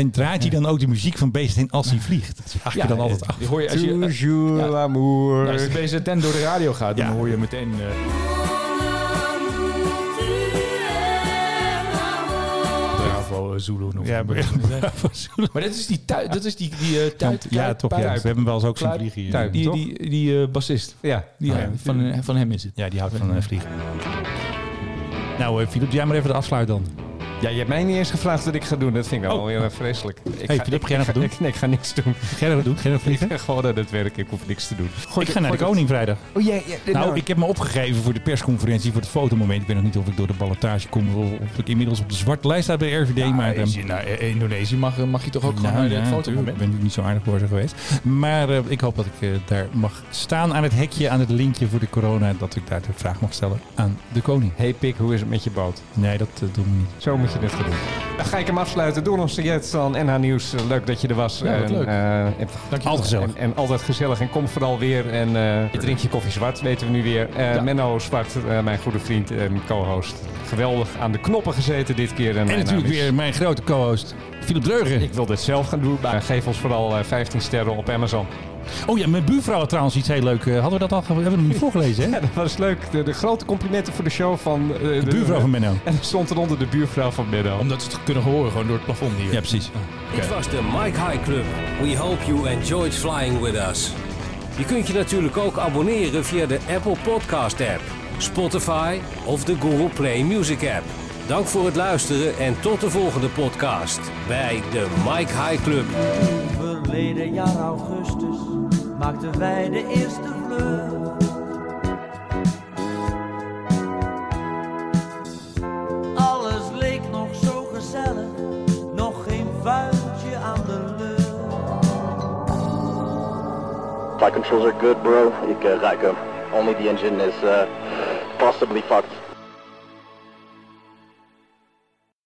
En draait hij dan ook de muziek van Beest in als hij vliegt? Dat vraag je
Ja,
dan altijd
eh,
af.
die hoor je als je-
Toujours
Ja.
l'amour.
Ja, als de BZN door de radio gaat, dan hoor je meteen... eh, Bravo eh, Zulu noemen.
Ja, maar-
Maar dat is die, tui, dat is die, die eh, tuit,
Ja,
Kuip-
toch, ja.
Kuip.
We hebben wel eens ook zien
Kuip.
vliegen hier.
Kuip, die,
Toch?
die, die, eh, bassist.
Ja.
Die,
Oh, ja.
Van, van hem is het.
Ja, die houdt van eh, vliegen. Nou, eh, Filip, doe jij maar even de afsluit dan.
Ja, je hebt mij niet eens gevraagd wat ik ga doen. Dat vind ik al
Oh.
heel erg vreselijk. Ik
Hey, Filip, ga jij nog wat doen?
Ik, nee, ik ga niks doen.
Ga jij nog wat doen? Ga jij nog vliegen?
Ik ga gewoon aan het werk. Ik hoef niks te doen.
ik ga naar de koning vrijdag.
Oh, ja, ja,
Nou, ik heb me opgegeven voor de persconferentie, voor het fotomoment. Ik weet nog niet of ik door de ballotage kom of of ik inmiddels op de zwarte lijst sta bij RVD.
Nou,
maar,
als
ehm,
je naar eh, Indonesië mag, eh, mag je toch ook gewoon naar
ja,
het
natuurlijk.
fotomoment?
Ik ben natuurlijk niet zo aardig voor ze geweest. Maar eh, ik hoop dat ik eh, daar mag staan aan het hekje, aan het linkje voor de corona. Dat ik daar de vraag mag stellen aan de koning.
Hey Pik, hoe is het met je boot?
Nee, dat eh, doen we niet.
Zo moet je dit gaan doen. Dan ga ik hem afsluiten. Door ons jet van NH Nieuws. Eh, Leuk dat je er was.
Ja, wat
en,
leuk.
eh, en-
Altijd gezellig.
En, en altijd gezellig. En kom vooral weer. En eh, je drink je koffie zwart, weten we nu weer. Eh,
Ja.
Menno Zwart, eh, mijn goede vriend en co-host. Geweldig aan de knoppen gezeten dit keer. mijn
En natuurlijk
naam is-
weer mijn grote co-host, Philip Dreugen.
Ik wil dit zelf gaan doen. Maar geef ons vooral eh, 15 sterren op Amazon.
Oh ja, mijn buurvrouw had trouwens iets heel leuk. eh, Hadden we dat al ge- hebben we nog niet voorgelezen, hè?
Ja, dat was leuk. De, de grote complimenten voor de show van... eh,
De buurvrouw van Menno.
En er stond eronder de buurvrouw van Menno.
Omdat ze het kunnen horen, gewoon door het plafond hier.
Ja, precies.
Dit was de Mike High Club. We hope you enjoyed flying with us. Je kunt je natuurlijk ook abonneren via de Apple Podcast app, Spotify of de Google Play Music app. Dank voor het luisteren en tot de volgende podcast bij de Mike High Club.
Verleden jaar augustus maakten wij de eerste vlucht. Alles leek nog zo gezellig, nog geen vuiltje aan de lucht.
eh, Flight controls are good, bro. Ik uh, raak hem. Only the engine is uh, eh, possibly fucked.